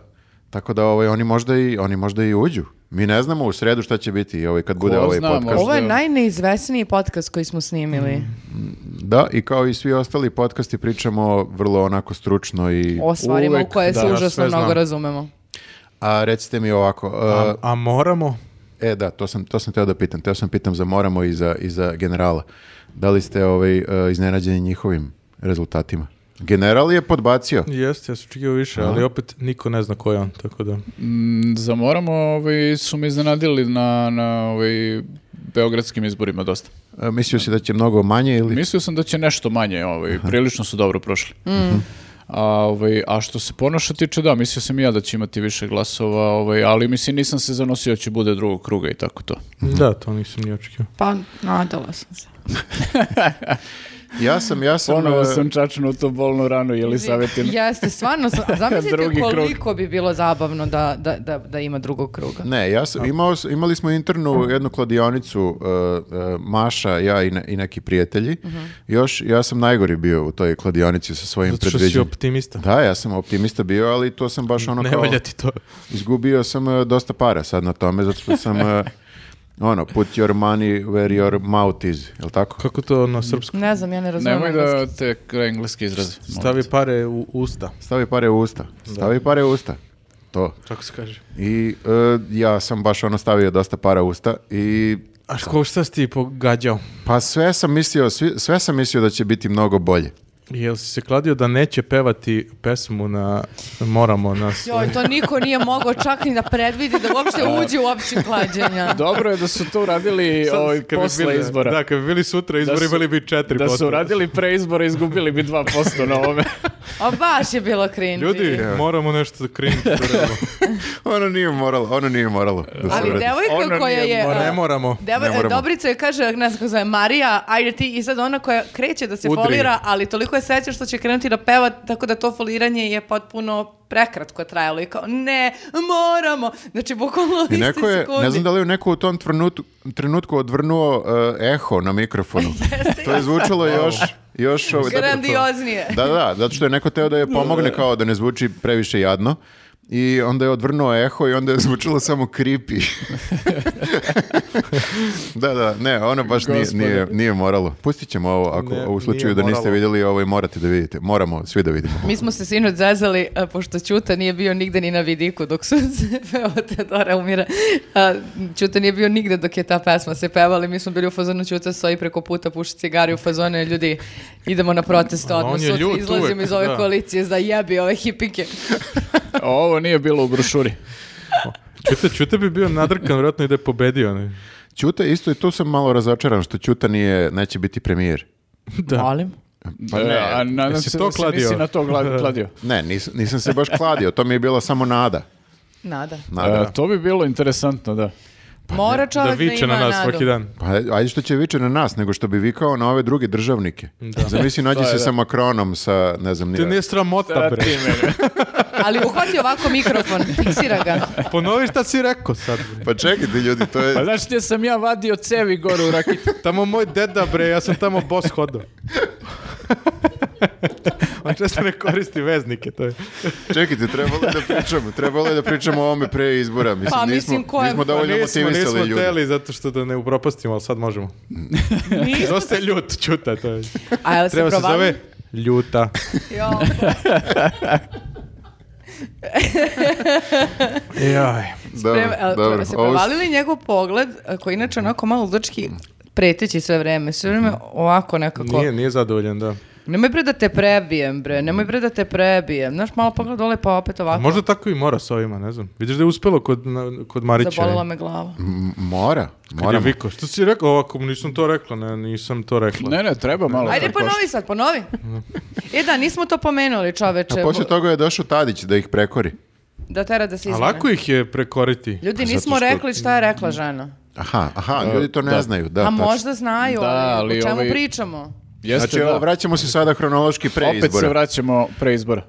Tako da ovaj, oni, možda i, oni možda i uđu. Mi ne znamo u sredu šta će biti ovaj, kad bude ovaj zna, podcast. možda- Ovo je najneizvesniji podcast koji smo snimili. Mm. Da, i kao i svi ostali podcasti pričamo vrlo onako stručno i... O stvarima Uvek, u koje se da, ja užasno sve znam. mnogo razumemo. A recite mi ovako, A, a moramo? e, e, da, to sam, to sam teo da pitam, teo sam pitam za Moramo i za, i za generala. Da li ste ovaj, e, iznenađeni njihovim rezultatima? General je podbacio. Jeste, ja sam očekivao više, ali opet niko ne zna ko je on, tako da... Mm, Zamoramo, ovaj, su me iznenadili na, na ovaj, beogradskim izborima dosta. E, Mislio si da će mnogo manje ili... Mislio sam da će nešto manje, ovaj, prilično su dobro prošli. Mm. A, ovaj, a što se ponoša tiče, da, mislio sam i ja da će imati više glasova, ovaj, ali mislim nisam se zanosio da će bude drugog kruga i tako to. Da, to nisam ni očekio. Pa, nadala sam se. Ja sam, ja sam... Ponovo e, sam čačan u to bolnu ranu, je li savjetin? Jeste, stvarno, sam- zamislite Drugi krug. koliko bi bilo zabavno da, da, da, da ima drugog kruga. Ne, ja sam, imao, s- imali smo internu jednu kladionicu, e, e, Maša, ja i, ne- i neki prijatelji. Još, ja sam najgori bio u toj kladionici sa svojim Mhm. Zato što si predviđenjem. optimista. Da, ja sam optimista bio, ali to sam baš ono ne kao... valja ti to. Izgubio sam e, dosta para sad na tome, zato što sam, e, ono, put your money where your mouth is, je tako? Kako to ono, na srpskom? Ne znam, ja ne razumijem. ono Nemoj engleski. da te engleski izrazi. molim Stavi te. pare u usta. Stavi pare u usta, stavi pare u usta, to. Tako se kaže. I e, ja sam baš ono stavio dosta para u usta i A ko šta si ti pogađao? pa sve sam mislio, svi- sve sam mislio da će biti mnogo bolje. Jel si se kladio da neće pevati pesmu na Moramo na... Joj, to niko nije mogao čak ni da predvidi da uopšte uđe u opciju klađenja. Dobro je da su to [LAUGHS] uradili ovaj, posle izbora. Da, kad bi bili sutra izbori, su- imali bi 4%. Da su radili pre izbora, izgubili bi 2% na [LAUGHS] ovome. A baš je bilo cringe. Ljudi, moramo nešto da kriniti. Ono nije moralo, ono nije moralo da se Ali vrati. devojka Ona koja nije je... morala. ne moramo. Devoj, Ne moramo. Dobrica je kaže, ne znam kako zove, Marija, ajde ti, i sad ona koja kreće da se Udri. folira, ali toliko je sreća što će krenuti da peva, tako da to foliranje je potpuno prekratko trajalo i kao, ne, moramo, znači bukvalno I isti neko je, sekundi. ne znam da li je neko u tom trenutu- trenutku odvrnuo e, eho na mikrofonu. to je zvučalo još, još... ovaj- zato- Grandioznije. Da, da, zato što je neko teo da je pomogne kao da ne zvuči previše jadno. I onda je odvrnuo eho i onda je zvučilo samo creepy. [LAUGHS] da, da, ne, ono baš nije, Gospode. nije, nije moralo. Pustit ćemo ovo, ako Ne, u slučaju nije da niste moralo. vidjeli, ovo i morate da vidite. Moramo svi da vidimo. Mi smo se sinoć zezali, a, pošto Ćuta nije bio nigde ni na vidiku dok su se [LAUGHS] peva Teodora umira. A, Ćuta nije bio nigde dok je ta pesma se pevala i mi smo bili u fazonu Ćuta stoji preko puta, puši cigare u fazonu i ljudi idemo na protest A on odmah je sutra, ljut izlazimo uvek, iz ove da. koalicije za jebi ove hipike. Ovo nije bilo u brošuri. Čute, čute bi bio nadrkan, vjerojatno i da je pobedio. Ne? Ćuta, isto i tu sam malo razočaran što Ćuta nije, neće biti premijer. Da. Molim. Pa ne. E, a nadam Jesi se to da se kladio? nisi na to gla- [LAUGHS] kladio. Ne, nis, nisam se baš kladio, to mi je bila samo nada. Nada. nada. E, to bi bilo interesantno, da. Mora Pa Da čovjek da, viče ima na nas nadu. svaki dan. Pa ajde što će viče na nas, nego što bi vikao na ove druge državnike. Zamisli, nađi To je se da. sa Makronom, sa, ne znam, Ti nije. nije sramota, Da, bre. ti [LAUGHS] mene. Ali uhvati ovako mikrofon, fiksira ga. Ponovi šta si rekao sad, bre. Pa čekajte ljudi, to je... Pa znaš gdje sam ja vadio cevi gore u [LAUGHS] rakitu? Tamo moj deda, bre, ja sam tamo bos hodao. [LAUGHS] On često ne koristi veznike, to je. Čekajte, trebalo je da pričamo, trebalo je da pričamo o ovome pre izbora. Mislim, Pa, nismo, mislim, ko je- nismo Pa dovoljno nismo, motivisali nismo ljude. teli zato što da ne upropastimo, ali sad možemo. [LAUGHS] Dosta je ljut, čuta, to je. A jel se Treba se provali? zove ljuta. Jo. Jaj. Dobro, Prema- a, dobro. Se Ovo s- provalili njegov pogled, a, koji je Mhm. inače onako malo ludački preteći sve vreme, sve vreme ovako nekako. Nije, nije zadovoljan, da. Nemoj bre da te prebijem, bre. Nemoj bre da te prebijem. Znaš, malo pogled dole pa opet ovako. Možda tako i mora sa ovima, ne znam. Vidiš da je uspelo kod, na- kod Marića. Zabolila me glava. M- mora, Kad je mora. vikao, što si rekao ovako, nisam to rekla, ne, nisam to rekla. Ne, ne, treba malo. Ajde tako ponovi sad, ponovi. E da, nismo to pomenuli čoveče. A posle toga je došao Tadić da ih prekori. Da tera da se A izvane. lako ih je prekoriti. Ljudi, Zato nismo što- rekli šta je rekla žena. Aha, aha, ljudi to ne da. znaju. Da, A tačno. možda znaju, Da, ali, ali o čemu ovaj- pričamo? Jeste, Znači, da. evo, vraćamo se sada hronološki pre Opet se izbora. vraćamo pre izbora.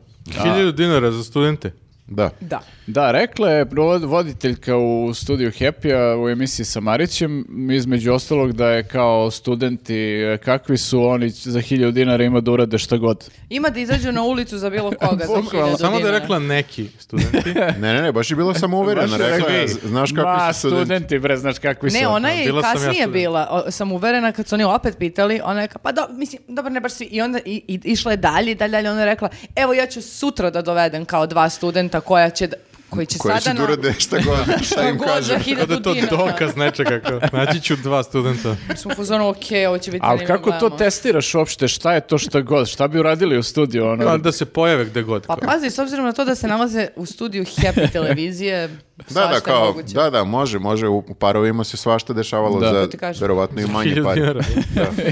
Hiljadu dinara za studente. Da. Da. Da, rekla je provod- voditeljka u studiju Happy-a u emisiji sa Marićem, između ostalog da je kao studenti, e, kakvi su oni za hiljadu dinara ima da urade šta god. Ima da izađu na ulicu za bilo koga. za hiljadu Samo da je dinara. rekla neki [LAUGHS] studenti. Ne, ne, ne, baš je bila samouverena. Baš je Rekla je, rekla, znaš e, Ma, kakvi su studenti. studenti, bre, znaš kakvi su. Ne, ona je i Bila sam ja kasnije student. bila, o, sam uverena kad su oni opet pitali, ona je kao, pa do, mislim, dobro, ne baš svi, i onda i, i- išla je dalje i dalje, dalje, ona je rekla, evo ja ću sutra da dovedem kao dva studenta koja će, da- koji će Koji će sada da urade šta [LAUGHS] god, šta Šta im god za kažem. Kao da hiljadu je to dinara. dokaz nečega. Kao. Naći ću dva [LAUGHS] studenta. Smo u fazonu, okej, ovo će biti Ali zanimljivo, kako to gledamo. testiraš uopšte, šta je to šta god, šta bi uradili u studiju? Ono? Kao Pa Da se pojave gde god. Pa kao. pazi, s obzirom na to da se nalaze u studiju Happy televizije, Da, da, svašta je kao, moguće. da, da, može, može, u u parovima se svašta dešavalo Da. ti za, kažem. verovatno i manje Hiljadu pare. dinara.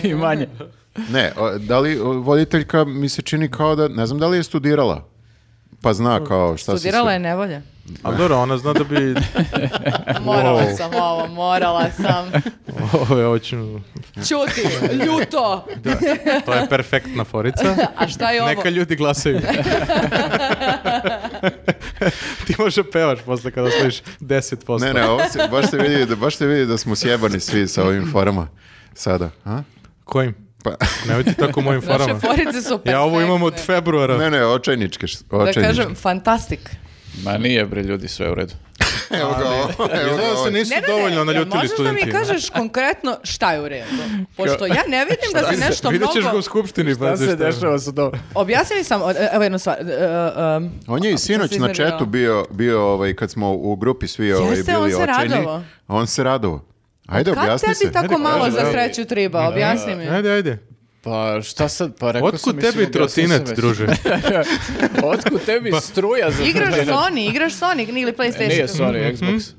I manje. Ne, o, da li o, voditeljka mi se čini kao da, ne znam da li je studirala, pa zna kao šta se Studirala sve- je nevolja. Ali dobro, ona zna da bi... Morala Wow. sam ovo, morala sam. [LAUGHS] Ovo je očinu... Ćuti, ljuto. To je perfektna [LAUGHS] forica. A šta je E, ovo? Neka [LAUGHS] ljudi glasaju. Ti možda pevaš posle kada sliš 10%. Ne, ne, ovo se, baš se vidi, da, baš se vidi da smo sjebani svi sa ovim forama sada. A? Kojim? Pa, [LAUGHS] Nemojte tako u mojim Naše forama. forice su Ja ovo imam od perfektne. februara. ne, ne, očajničke, š- Da očajničke. kažem, fantastik. Ma nije, bre, ljudi, sve u redu. pa, Evo ga, ovo, [LAUGHS] evo ga, Izgleda ovo. se nisu dovoljno naljutili možeš da studenti. mi kažeš konkretno šta je u redu? Pošto ja ne vidim da si nešto Vidjet mnogo... ćeš ga u skupštini. Šta pazi se dešava sa to? Objasni sam, o, evo jednu stvar. e, e, um, On je i sinoć se na iznervirala. četu bio, bio ovaj, kad smo u grupi svi ovaj, Jeste, on bili se očajni. radovao. On se radovao. Ajde, Kad objasni se. tebi tako Ajde, malo kaži, za da. sreću triba? Objasni mi. Ajde, ajde. Pa šta sad, pa rekao sam... Otkud mislim, tebi objasnio sam trotinet, već. druže? [LAUGHS] Otkud tebi struja za Igraš trotinet? Sony, igraš Sony ili PlayStation. Nije Sony, Xbox.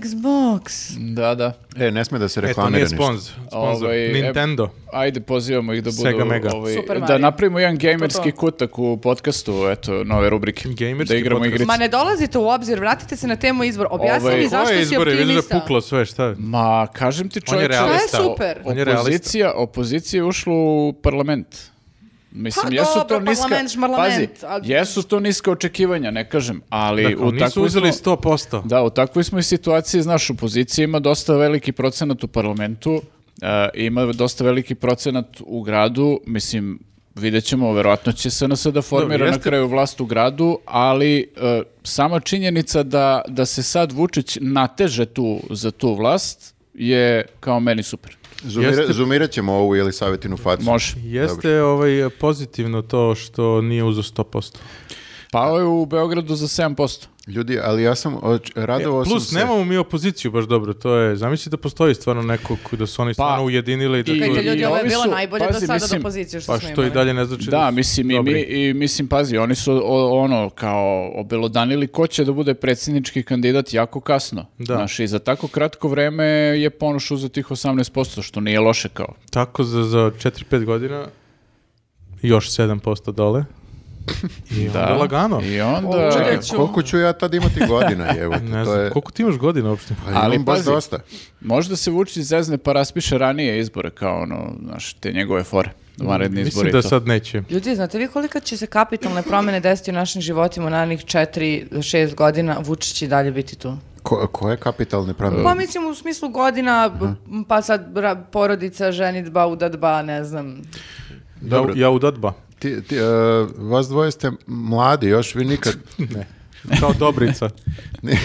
Xbox. Da, da. E, ne sme da se E, to reklamira nije ništa. sponz. Sponzor. Ovaj, e- Nintendo. Ajde, pozivamo ih da budu... Sega Mega. ovaj, Super da Mario. napravimo jedan gamerski To, to. kutak u podcastu, eto, nove rubrike. Gamerski da igramo podcast. igrice. Ma ne dolazite u obzir, vratite se na temu izbor. Objasni Ovaj, mi zašto Ovo je si izbore, vidiš da optimista. je puklo sve, šta? je? Ma, kažem ti On je čovječe, realista. Šta je super? On je realista. opozicija, opozicija je ušla u parlament. Mislim, Pa jesu dobro, to niska, parlament, šmarlament, pazi, ali- jesu to niska očekivanja, ne kažem, ali Dakle, u nisu takvoj uzeli smo- 100%. Da, u takvoj smo i situaciji, znaš, opozicija ima dosta veliki procenat u parlamentu, e, ima dosta veliki procenat u gradu, mislim, vidjet ćemo, verovatno će SNS da formira Dobro, jeste- na kraju vlast u gradu, ali e, sama činjenica da, da se sad Vučić nateže tu za tu vlast je kao meni super. Zumira, Jeste- Zumirat ćemo ovu ili savjetinu facu. Može. Jeste ovaj, pozitivno to što nije uzo 100%. Pao je u Beogradu za 7%. Ljudi, ali ja sam oč- radovao sam Plus, se. nemamo mi opoziciju baš dobro, to je, zamisli da postoji stvarno neko ko- da su oni stvarno ujedinili i da i- to- Čekajte, ljudi, ovo je ovi bilo su- najbolje do pazi, sada mislim, do pozicije što pa smo što i imali. dalje ne znači Da, su mislim i mi dobri. i mislim pazi, oni su o- ono kao obelodanili ko će da bude predsjednički kandidat jako kasno. Da. Znaš, i za tako kratko vreme je Ponoš uzeo tih 18%, što nije loše kao. Tako za, za 4-5 godina još 7% dole. I onda Da. lagano. I onda O, čekaj. Čekaj, ću- koliko ću ja tad imati [LAUGHS] godina, evo. to Ne znam, je... koliko ti imaš godina uopšte? Pa imam Ali baš pazi. dosta. možda se Vučić zezne pa raspiše ranije izbore kao ono, znaš, te njegove fore, vanredni Mislim izbori. i da to. sad neće. Ljudi, znate vi kolika će se kapitalne promjene desiti u našim životima u narednih 4-6 godina, Vučić će i dalje biti tu. Ko, koje kapitalne promjene? Pa mislim u smislu godina, m, pa sad ra- porodica, ženitba, udadba, ne znam. Dobro. Ja, ja udadba. Ti, ti, e, vas dvoje ste mladi, još vi [LAUGHS] nikad, Kao Dobrica. ni-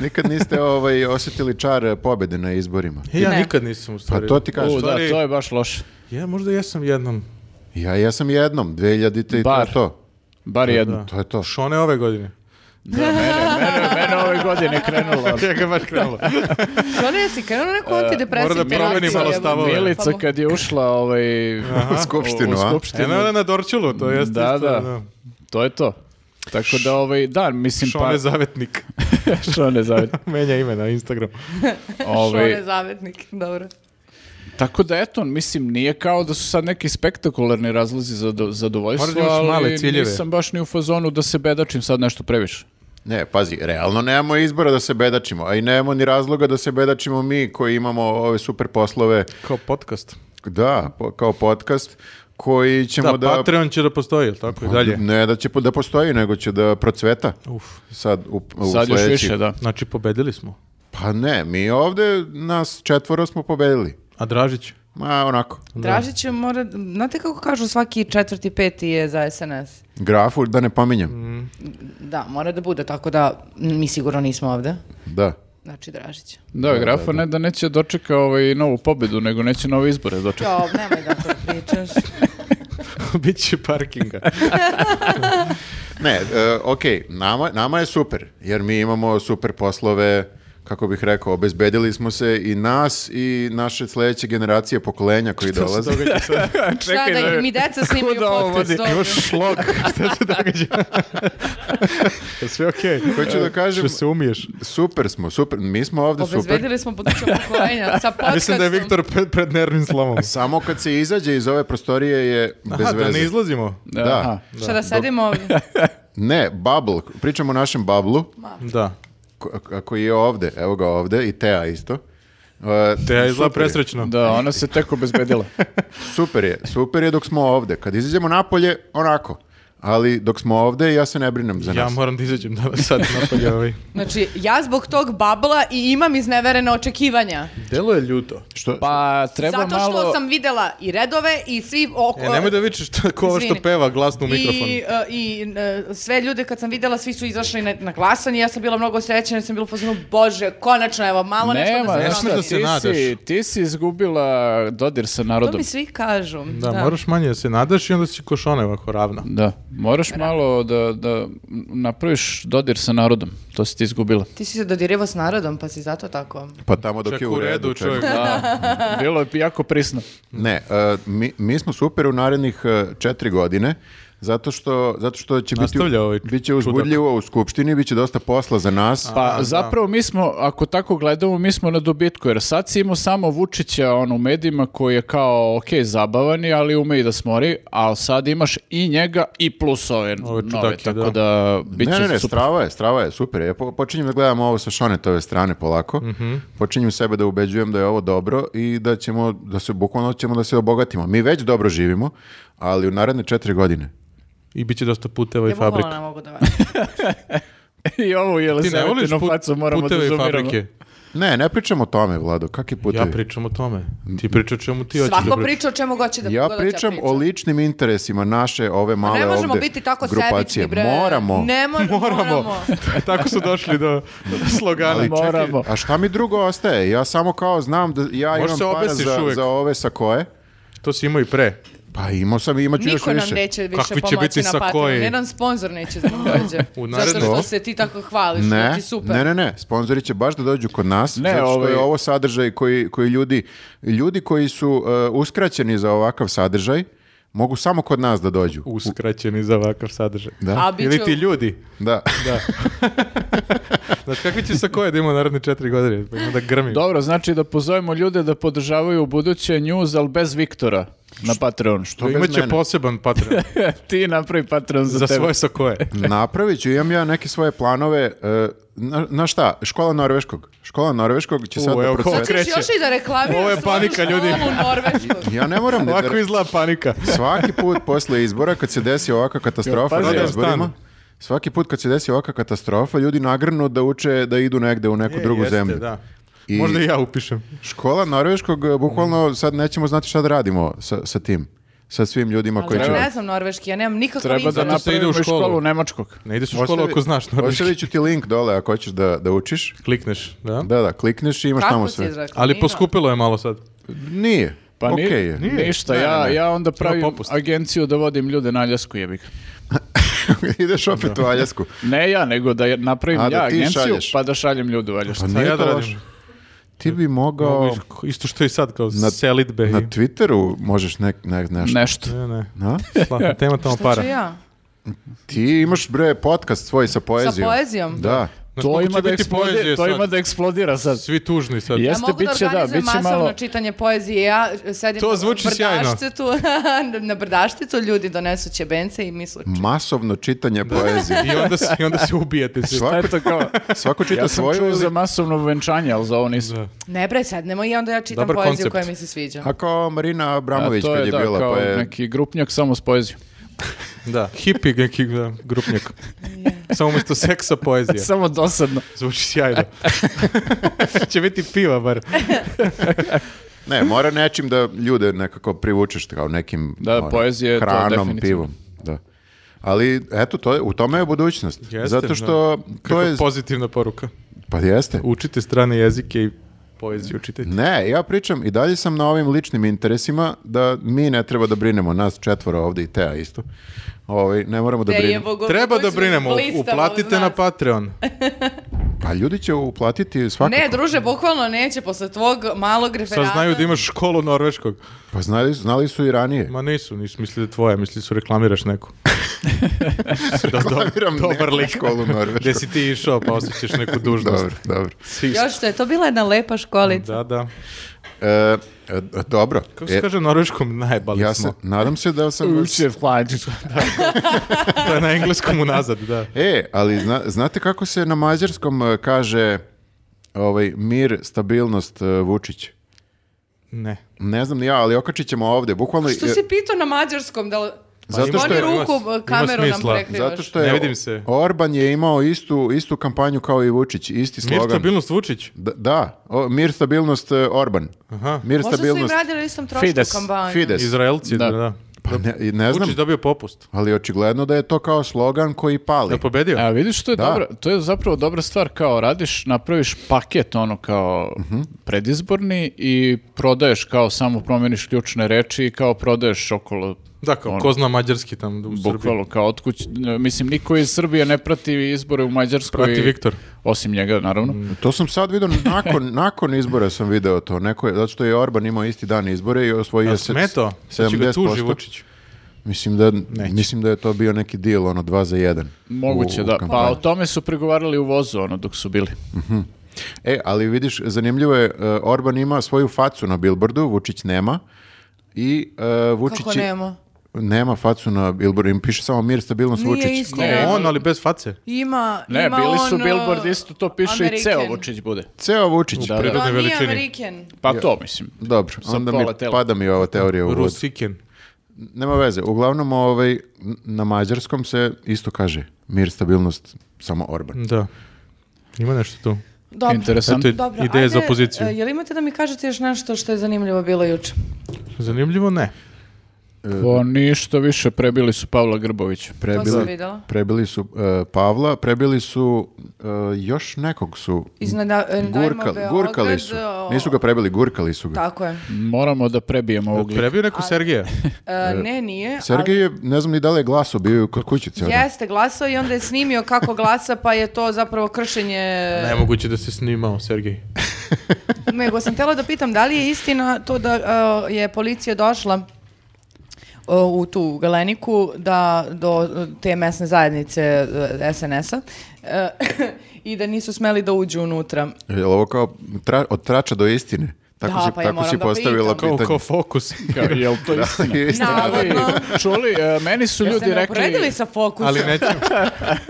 nikad niste ovaj, osjetili čar e, pobede na izborima. E, ja Ne. nikad nisam u Pa stvari. to ti kažem. U, da, stvari- to je baš loše. Ja možda jesam jednom. Ja, ja sam jednom, 2000 i to je Bar. to. Bar jedno. To je to. Šone ove godine. Da, mene, mene, mene ove godine krenulo. ono. Ja ga baš [LAUGHS] krenulo. Što ne si, krenuo na neku antidepresivnu E, mora da promeni reakciju, Pa malo jebote. stavove. Milica kad je ušla ovaj, U skupštinu, u, u a? skupštinu, Eno je na Dorčulu, to jeste. Da, isto, ono, da. to je to. Tako da, ovaj, da, mislim, Šone pa... zavetnik. [LAUGHS] [LAUGHS] Što ne zavet. Menja ime na Instagram. Šore Ovaj, zavetnik, dobro. tako da, eto, mislim, nije kao da su sad neki spektakularni razlozi za do- Moraš da zadovoljstvo, imaš ali male ciljeve. nisam baš ni u fazonu da se bedačim sad nešto previše. Ne, pazi, realno nemamo izbora da se bedačimo, a i nemamo ni razloga da se bedačimo mi koji imamo ove super poslove, Kao podcast. da, po- kao podcast, koji ćemo Da, da... Patreon će da postoji, jel tako i dalje. Ne da će po- da postoji, nego će da procveta. Uf. Sad u, u Sad još sledećih- više, da. Znači, pobedili smo. Pa ne, mi ovde nas četvoro smo pobedili. A Dražić? Ma, onako. Dražić je mora, znate kako kažu svaki četvrti, peti je za SNS? Grafu, da ne Mm. pominjem. Da, mora da bude, tako da m, mi sigurno nismo ovde. Da. Znači [LAUGHS] Dražić. Da, grafa ne da neće dočeka ovaj novu pobedu, nego neće nove izbore dočeka. Jo, nemoj da to pričaš. Biće [LAUGHS] parkinga. Ne, e, okej, nama, nama je super, jer mi imamo super poslove, kako bih rekao, obezbedili smo se i nas i naše sledeće generacije pokolenja [LAUGHS] koji dolaze. [LAUGHS] Šta da mi deca snimaju da ovo podcast? vodi? dobro. šlog. Šta se događa? Je sve okej. Hoću da kažem, Što se umiješ? super smo, super, mi smo ovde super. Obezbedili smo buduća pokolenja sa podcastom. [LAUGHS] Mislim da je Viktor pred, pred nervnim slomom. Samo kad se izađe iz ove prostorije je bez Aha, da veze. ne izlazimo. Da. Aha. Šta da sedimo ovdje? Ne, bubble, pričamo o našem bablu, Da. ko- ko- koji je ovde, evo ga ovde, i Tea isto. E, Te ja izla super je. presrećno. Da, ona se tek obezbedila. Super je, super je dok smo ovde. Kad izađemo napolje, onako. Ali dok smo ovde, ja se ne brinem za Ja nas. moram da izađem danas sad napolje ovaj. Znači, ja zog tog babla i imam izneverena očekivanja. Delo je ljuto. Što? Pa treba Zato što malo... sam videla i redove i svi oko... E, nemoj da vičeš to- ko ovo što Izvini. peva glasno u mikrofon. I, e, i e, sve ljude kad sam videla, svi su izašli na, na glasanje, ja sam bila mnogo srećena, jer sam bila pozvano, bože, konačno, evo, malo nešto da Nema, se Ne znaš promeni." smeš da šta, ti se nadaš. si, ti si izgubila dodir sa narodom. To mi svi kažu. Da, moraš manje da se nadaš i onda si košone ovako ravna. Da, moraš malo da, da napraviš dodir sa narodom. To si ti izgubila. Ti si se dodirivao s narodom, pa si zato tako. Pa tamo dok Čak je u redu. čak. čovjek. Da, bilo je jako prisno. Ne, e, mi, mi smo super u narednih e, četiri godine, zato što, zato što će biti, Nastavlja ovaj bit će uzbudljivo u Skupštini, bit će dosta posla za nas. Pa zapravo mi smo, ako tako gledamo, mi smo na dobitku, jer sad si imao samo Vučića on, u medijima koji je kao, ok, zabavan je, ali ume i da smori, ali sad imaš i njega i plus ove, Ove nove, čudake, tako da, da. bit će ne, ne, ne, super. strava je, strava je, super. je. Ja po- počinjem da gledam ovo sa Šonetove strane polako. Mhm. Počinjem sebe da ubeđujem da je ovo dobro i da ćemo, da se bukvalno ćemo da se obogatimo. Mi već dobro živimo, ali u naredne četiri godine. I bit će dosta puteva i Ja bukvalno fabrika. ne mogu ono- da verujem. [LAUGHS] I ovo je Ti ne voliš put, facu moramo da puteve i zoomiramo. fabrike? Ne, ne pričamo o tome, Vlado, kakvi putevi? Ja pričam o tome. Ti priča o čemu ti hoćeš da Svako pričaš. priča o čemu god će da Ja god da će pričam priča. o ličnim interesima naše ove male Pa Ne možemo ovde biti tako grupacije. sebični, bre. Moramo. Ne [LAUGHS] mo- moramo. Tako su došli [LAUGHS] do do slogana. Ali čekaj, Moramo. a šta mi drugo ostaje? Ja samo kao znam da ja Možeš se imam para obesiš za, uvek. za ove sa koje. To si imao i pre. Pa imao sam i imaću još Niko nam više. neće više Kakvi će pomoći biti na sa Patreonu. koji? Jedan sponsor neće [LAUGHS] da nam dođe. U Zato narednom- što se ti tako hvališ, ne, Znači, Ne, ti super. ne, ne, ne, sponzori će baš da dođu kod nas, Ne, zato što ovaj- je ovo sadržaj koji, koji ljudi, ljudi koji su uh, uskraćeni za ovakav sadržaj, mogu samo kod nas da dođu. Uskraćeni za ovakav sadržaj. Da, A bit Ili će- ti ljudi. [LAUGHS] da. Znaš, kakvi će sa koje da ima naredne četiri godine? Pa ima da grmi. Dobro, znači da pozovemo ljude da podržavaju u buduće news, ali bez Viktora na Patreon. Što? To bez Pa Imaće mene. poseban [LAUGHS] Patreon [LAUGHS] Ti napravi Patreon za, za tebe. svoje sa koje. Napravit ću, imam ja neke svoje planove, uh, na, na šta, škola norveškog. Škola norveškog će U, sad da evo, ko procveta. Hoćeš kreće. još i da reklamiraš Ovo je svoju panika, školu ljudi. norveškog. [LAUGHS] Ja ne [LAUGHS] moram da... Ovako izgleda [LAUGHS] panika. Svaki put posle izbora kad se desi ovakva katastrofa Jo, pazi, na ja. izborima, Stan. svaki put kad se desi ovakva katastrofa, ljudi nagrnu da uče da idu negde u neku E, drugu jeste, zemlju. Da. I- Možda i ja upišem. Škola norveškog, e, Mm. bukvalno sad nećemo znati šta da radimo sa, sa tim, sa svim ljudima koji Ali će... ne znam norveški, ja nemam nikakav Treba da Zato se interes. ide napravimo u školu. školu. školu nemačkog. Ne ideš u školu Ostavi- ako znaš norveški. Ostavit ću ti link dole ako hoćeš da, da učiš. Klikneš, da? Da, da, klikneš i imaš tamo Kako si sve. izrekla? Ali Nino? poskupilo je malo sad. Nije. Pa ni- Okej je. ništa, ja, ja onda pravim popust. agenciju da vodim ljude na Aljasku jebik. [LAUGHS] Ideš opet u Aljasku. Ne ja, nego da ja- napravim A, da ja ti agenciju, šalješ. pa da šaljem ljudi u Aljasku. Pa Šta nije ja to da loše. radim? Ti bi mogao... Mogu iš- Isto što i sad, kao selitbe. i- Na Twitteru možeš ne, ne, nešto. Nešto. Ne, ne. Na? [LAUGHS] Sla- Tema tamo para. Šta ću ja? Ti imaš bre podcast svoj sa poezijom. poezijom? Da. Znaš, To koliko ima, će da biti poezije eksplodira, to sad? ima da eksplodira sad. Svi tužni sad. Ja Jeste, mogu da bit će da, organizujem bit će masovno malo... čitanje poezije. Ja sedim To na zvuči sjajno. brdašcetu, [LAUGHS] na brdašticu, ljudi donesu ćebence i misle Masovno čitanje [LAUGHS] poezije. I onda se, i onda se ubijete. svi. Svako, Eto kao, svako čita ja sam svoju čuo ili- za masovno venčanje, ali za ovo nisam. Da. ne bre, sednemo i onda ja čitam Dobar poeziju koncept. koja mi se sviđa. A kao Marina A Abramović to kad je, je, da, bila, kao pa je... neki grupnjak samo s poezijom. Da, hipi neki da, [LAUGHS] grupnjak. Samo umjesto seksa poezija. [LAUGHS] Samo dosadno. Zvuči [LAUGHS] sjajno. Će biti piva bar. Ne, mora nečim da ljude nekako privučeš, kao nekim Da, ono, poezija je to hranom, definitivno. pivom. Da. Ali, eto, to je, u tome je budućnost. Jeste, Zato što to je... pozitivna poruka. Pa jeste. Učite strane jezike i poeziju čitajte. Ne, ja pričam i dalje sam na ovim ličnim interesima da mi ne treba da brinemo, nas četvoro ovdje i Teja isto. Ovaj, ne moramo da Te brinemo. jebogovi Treba koji da su brinemo, blistavo uz uplatite nas. na [LAUGHS] Patreon. Pa ljudi će uplatiti svakako. Ne, druže, bukvalno neće posle tvog malog Sad referata. znaju da imaš školu norveškog. Pa znali, znali su i ranije. Ma nisu, nisu mislili tvoje, mislili su reklamiraš [LAUGHS] neku. Da, Reklamiram dobar neku lik. školu Gde norvešku. si ti išao pa osjećaš [LAUGHS] neku dužnost. Dobro, dobro. Još što je to bila jedna lepa školica. Da, da. E, e, dobro. Kako se E, kaže norveškom? Najbali ja se, smo. nadam se da sam... vas- Uče, hlađu. To je na engleskom unazad, da. E, ali zna- znate kako se na mađarskom e, kaže ovaj, mir, stabilnost, e, Vučić? Ne. Ne znam ni ja, ali okačit ćemo ovdje. Bukvalno, Mm. Što e, si pitao na mađarskom? Da li... zato što Oni je, ima- ruku ima kameru nam smisla. prekrivaš. zato što je Ne vidim se. Orban je imao istu, istu kampanju kao i Vučić, isti Mir, slogan. stabilnost, Vučić. Da, da. O, mir, stabilnost, e, Orban. Aha. Mir, Možda su im stabilnost, radili na istom trošku Fides, kampanju. Fides. Izraelci, da, Da. da. Pa ne, i ne znam, Vučić dobio popust. ali očigledno da je to kao slogan koji Da pali. je pobedio? E, A vidiš to je Da. dobro, to je zapravo dobra stvar kao radiš, napraviš paket ono kao Mhm. predizborni i prodaješ kao samo promeniš ključne reči i kao prodaješ okolo Da, kao, Ono. ko zna mađarski tamo u Srbiji. bukvalo kao otkuć, mislim niko iz Srbije ne prati izbore u Mađarskoj. Prati Viktor. Osim njega naravno. To sam sad [LAUGHS] vidio, nakon, nakon izbora sam video to. Neko je, zato što je Orban imao isti dan izbore i osvojio Jel se smeto? Sad će ga tuži 70%. Vučić. Mislim da, mislim da je to bio neki deal, ono, dva za jedan. Moguće u- u da, pa kampanji. o tome su pregovarali u vozu ono dok su bili. E, ali vidiš, zanimljivo je, e, Orban ima svoju facu na billboardu, Vučić nema. I e, Vučić... Kako je- nema? Nema facu na billboardu, im piše samo mir, stabilnost, Nije Vučić. isto. Ne. On, ali bez face. Ima, Ne, ima bili su on, billboard uh, isto to piše i ceo American. Vučić bude. Ceo Vučić. Da, da. Pa prirodnoj nije veličini. American. Pa to mislim. Dobro, Sa onda mi pola tela. pada mi ova teorija u vodu. Rusiken. Nema veze, uglavnom ovaj, n- na mađarskom se isto kaže mir, stabilnost, samo Orban. Da. Ima nešto tu. Dobro. Interesantno. Eto, Dobro, ideje ajde, za opoziciju. e, Jel imate da mi kažete još nešto što je zanimljivo bilo juče? Zanimljivo, ne. Pa ništa više, prebili su Pavla Grbovića. To sam videla. prebili su e, Pavla, prebili su e, još nekog su Iznada, e, dajmo gurkali, Beograd, gurkali su. o- Nisu ga prebili, gurkali su ga. Tako je. Moramo da prebijemo ovog lika. Prebio neko Sergeja. E, ne, nije. Eh, Sergej je, ne znam ni da li je glaso, bio je kod kuće cijel ali dan. Jeste glasao i onda je snimio kako glasa, pa je to zapravo kršenje... Nemoguće da se snimao Sergej. Nego sam htjela da pitam da li je istina to da e, je policija došla e, u tu galeniku da do e, te mesne zajednice e, SNS-a e, [LAUGHS] i da nisu smeli da uđu unutra. Jel ovo kao tra- od trača do istine? Tako Da, si, pa ja tako moram si da postavila pitam. Kao, pitanje. kao fokus. [LAUGHS] Kao, jel to istina? Je istina. Ali, Navodno. čuli, e, meni su Jeste ljudi me rekli, uporedili sa fokusom? Ali neću.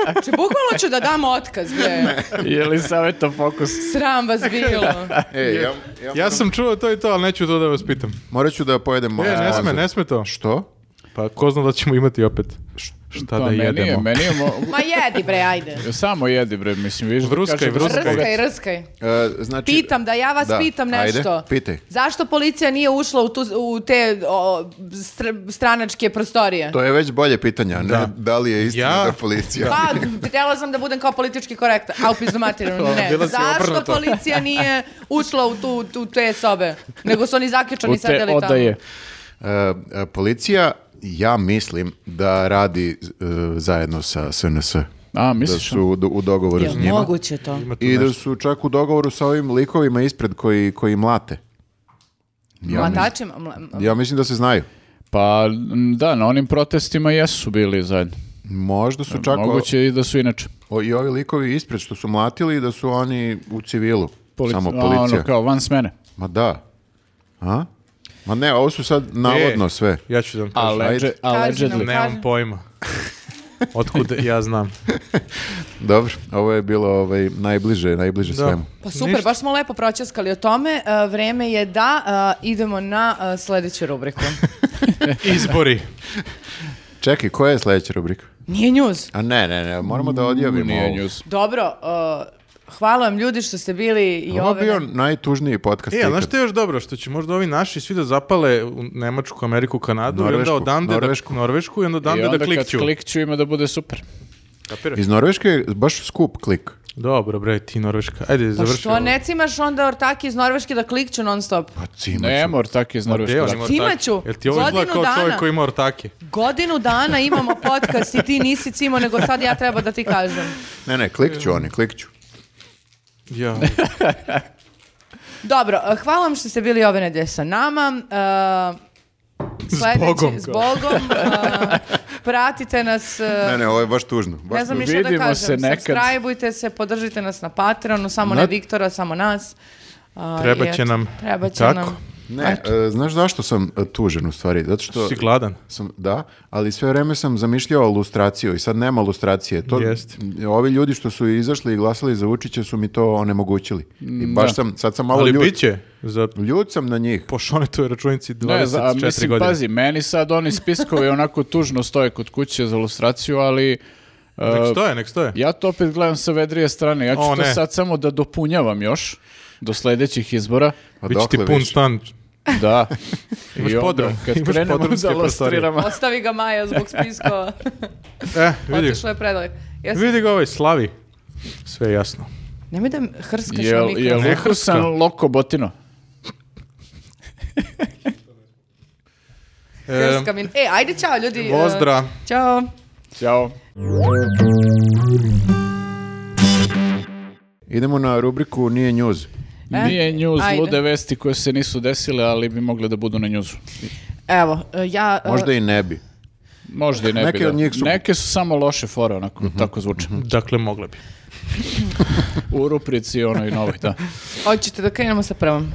Znači, bukvalno ću da dam otkaz, bre. je li savjeta fokus? Sram vas bilo. E, ja, ja, Ja sam čuo to i to, ali neću to da vas pitam. morat ću da pojedem malo. E, ne sme, nazad. ne sme to. Što? Pa ko zna da ćemo imati opet. Šta Pa da meni je, jedemo? meni je mo- Ma jedi, bre, ajde. Samo jedi bre, mislim, vidiš da Vruskaj, kaže- vruskaj. Rskaj, rskaj. E, znači, Pitam da ja vas da, pitam nešto. Ajde, pitaj. Zašto policija nije ušla u, tu, u te o, str- stranačke prostorije? To je već bolje pitanje, a ne da, Da. li je istina Ja? da policija... Pa, htjela sam da budem kao politički korektan, a u pizdu [LAUGHS] materinu, Bila ne. si Zašto obrnuta. policija nije ušla u tu, tu te sobe? Nego su oni U zaključani te sedeli tamo. odaje. E, e, policija ja mislim da radi e, zajedno sa SNS. A, Da misliš? su u, do- u dogovoru s Jel njima. moguće to? Ima tu I da nešto. su čak u dogovoru sa ovim likovima ispred koji, koji mlate. Ja, mislim, Mlatačima? Mla- ja mislim da se znaju. Pa, m, da, na onim protestima jesu bili zajedno. Možda su čak o- Moguće i da su inače. o- i ovi likovi ispred što su mlatili da su oni u civilu. Polici- Samo a, policija. Ono, kao, van smene. Ma da. A? Ma ne, ovo su sad navodno E, sve. Ja ću da vam kažem. Alleged, Kaži allegedly. nam. Nemam Kaži. [LAUGHS] pojma. Otkud ja znam. Dobro, ovo je bilo ovaj, najbliže, najbliže Da. svemu. Pa super, Ništa. baš smo lepo pročaskali o tome. E, vreme je da e, idemo na e, sljedeću [LAUGHS] rubriku. Izbori. Čekaj, koja je sljedeća rubrika? Nije njuz. A ne, ne, ne, moramo da odjavimo Nije ovo. news. Dobro, e, hvala vam ljudi što ste bili i Ovo je ove... bio najtužniji podcast. E, a znaš ikad. što je još dobro? Što će možda ovi naši svi da zapale u Nemačku, Ameriku, Kanadu i Norvešku, onda odande Norvešku. da Norvešku i onda I odande onda da kad klikću. klikću ima da bude super. Kapiraš? Iz Norveške je baš skup klik. Dobro, bre, ti Norveška. Ajde, Pa završi. što ovo. ne cimaš onda ortake iz Norveške da klikću non stop? Pa cimaću. Ne, mor, tako iz Norveške. Gde on vrati. ima ortake? Cimaću, Jel ti ovo izgleda godinu kao čovjek dana. koji ima ortake? Godinu dana imamo podcast i ti nisi cimo, nego sad ja treba da ti kažem. Ne, ne, klikću oni, klikću. Ja. Dobro, eh, hvala vam što ste bili ove nedelje sa nama. Eh, sljedeći- Zbogom. s Bogom, [LAUGHS] eh, pratite nas. eh, Ne, ne, ovo je baš tužno. Baš ne znam tužno. ništa da Vidimo kažem. se nekad. Subscribeujte se, podržite nas na Patreonu, samo ne Znat- Viktora, samo nas. A, Treba i će eto, nam. Treba će Tako. nam. Ne, e, znaš zašto sam e, tužen u stvari? Zato što Si gladan. sam, da, ali sve vreme sam zamišljao lustraciju i sad nema lustracije. To, Jest. Ovi ljudi što su izašli i glasali za Vučića su mi to onemogućili. I baš da. sam, sad sam malo Ali ljut. bit će. Za Ljut sam na njih. po šonetoj računici Ne, za, a 24 mislim, godine. pazi, meni sad oni spiskovi onako tužno stoje kod kuće za ilustraciju, ali e, Nek stoje, nek stoje. ja to opet gledam sa vedrije strane. Ja ću O, to ne. sad samo da dopunjavam još do sljedećih izbora. Pa Biće ti dokle pun više? stan. E, Da. [LAUGHS] Imaš I onda podrum, Kad imaš krenemo podrumske da prostorije. ilustriramo. Ostavi ga Maja zbog spiskova. E, vidi, Otišlo je predaleko. Jesi- vidi ga ovaj slavi. Sve je jasno. Nemoj da m- hrskaš na Jel, mikrofon. jel Ne ukusan hrska. loko botino? E, Hrska mi- E, ajde, čao ljudi. eh, Pozdrav. Ćao. Ćao. Idemo na rubriku Nije njuz. E, Nije njuz ajde. lude vesti koje se nisu desile, ali bi mogle da budu na njuzu. Evo, eh, ja... eh, Možda i ne bi. Možda i ne Neke bi, da. od njih su- Neke su samo loše fore, onako, Mhm. tako zvuče. Dakle, mogle bi. U ruprici i onoj novoj, da. Hoćete da krenemo sa prvom?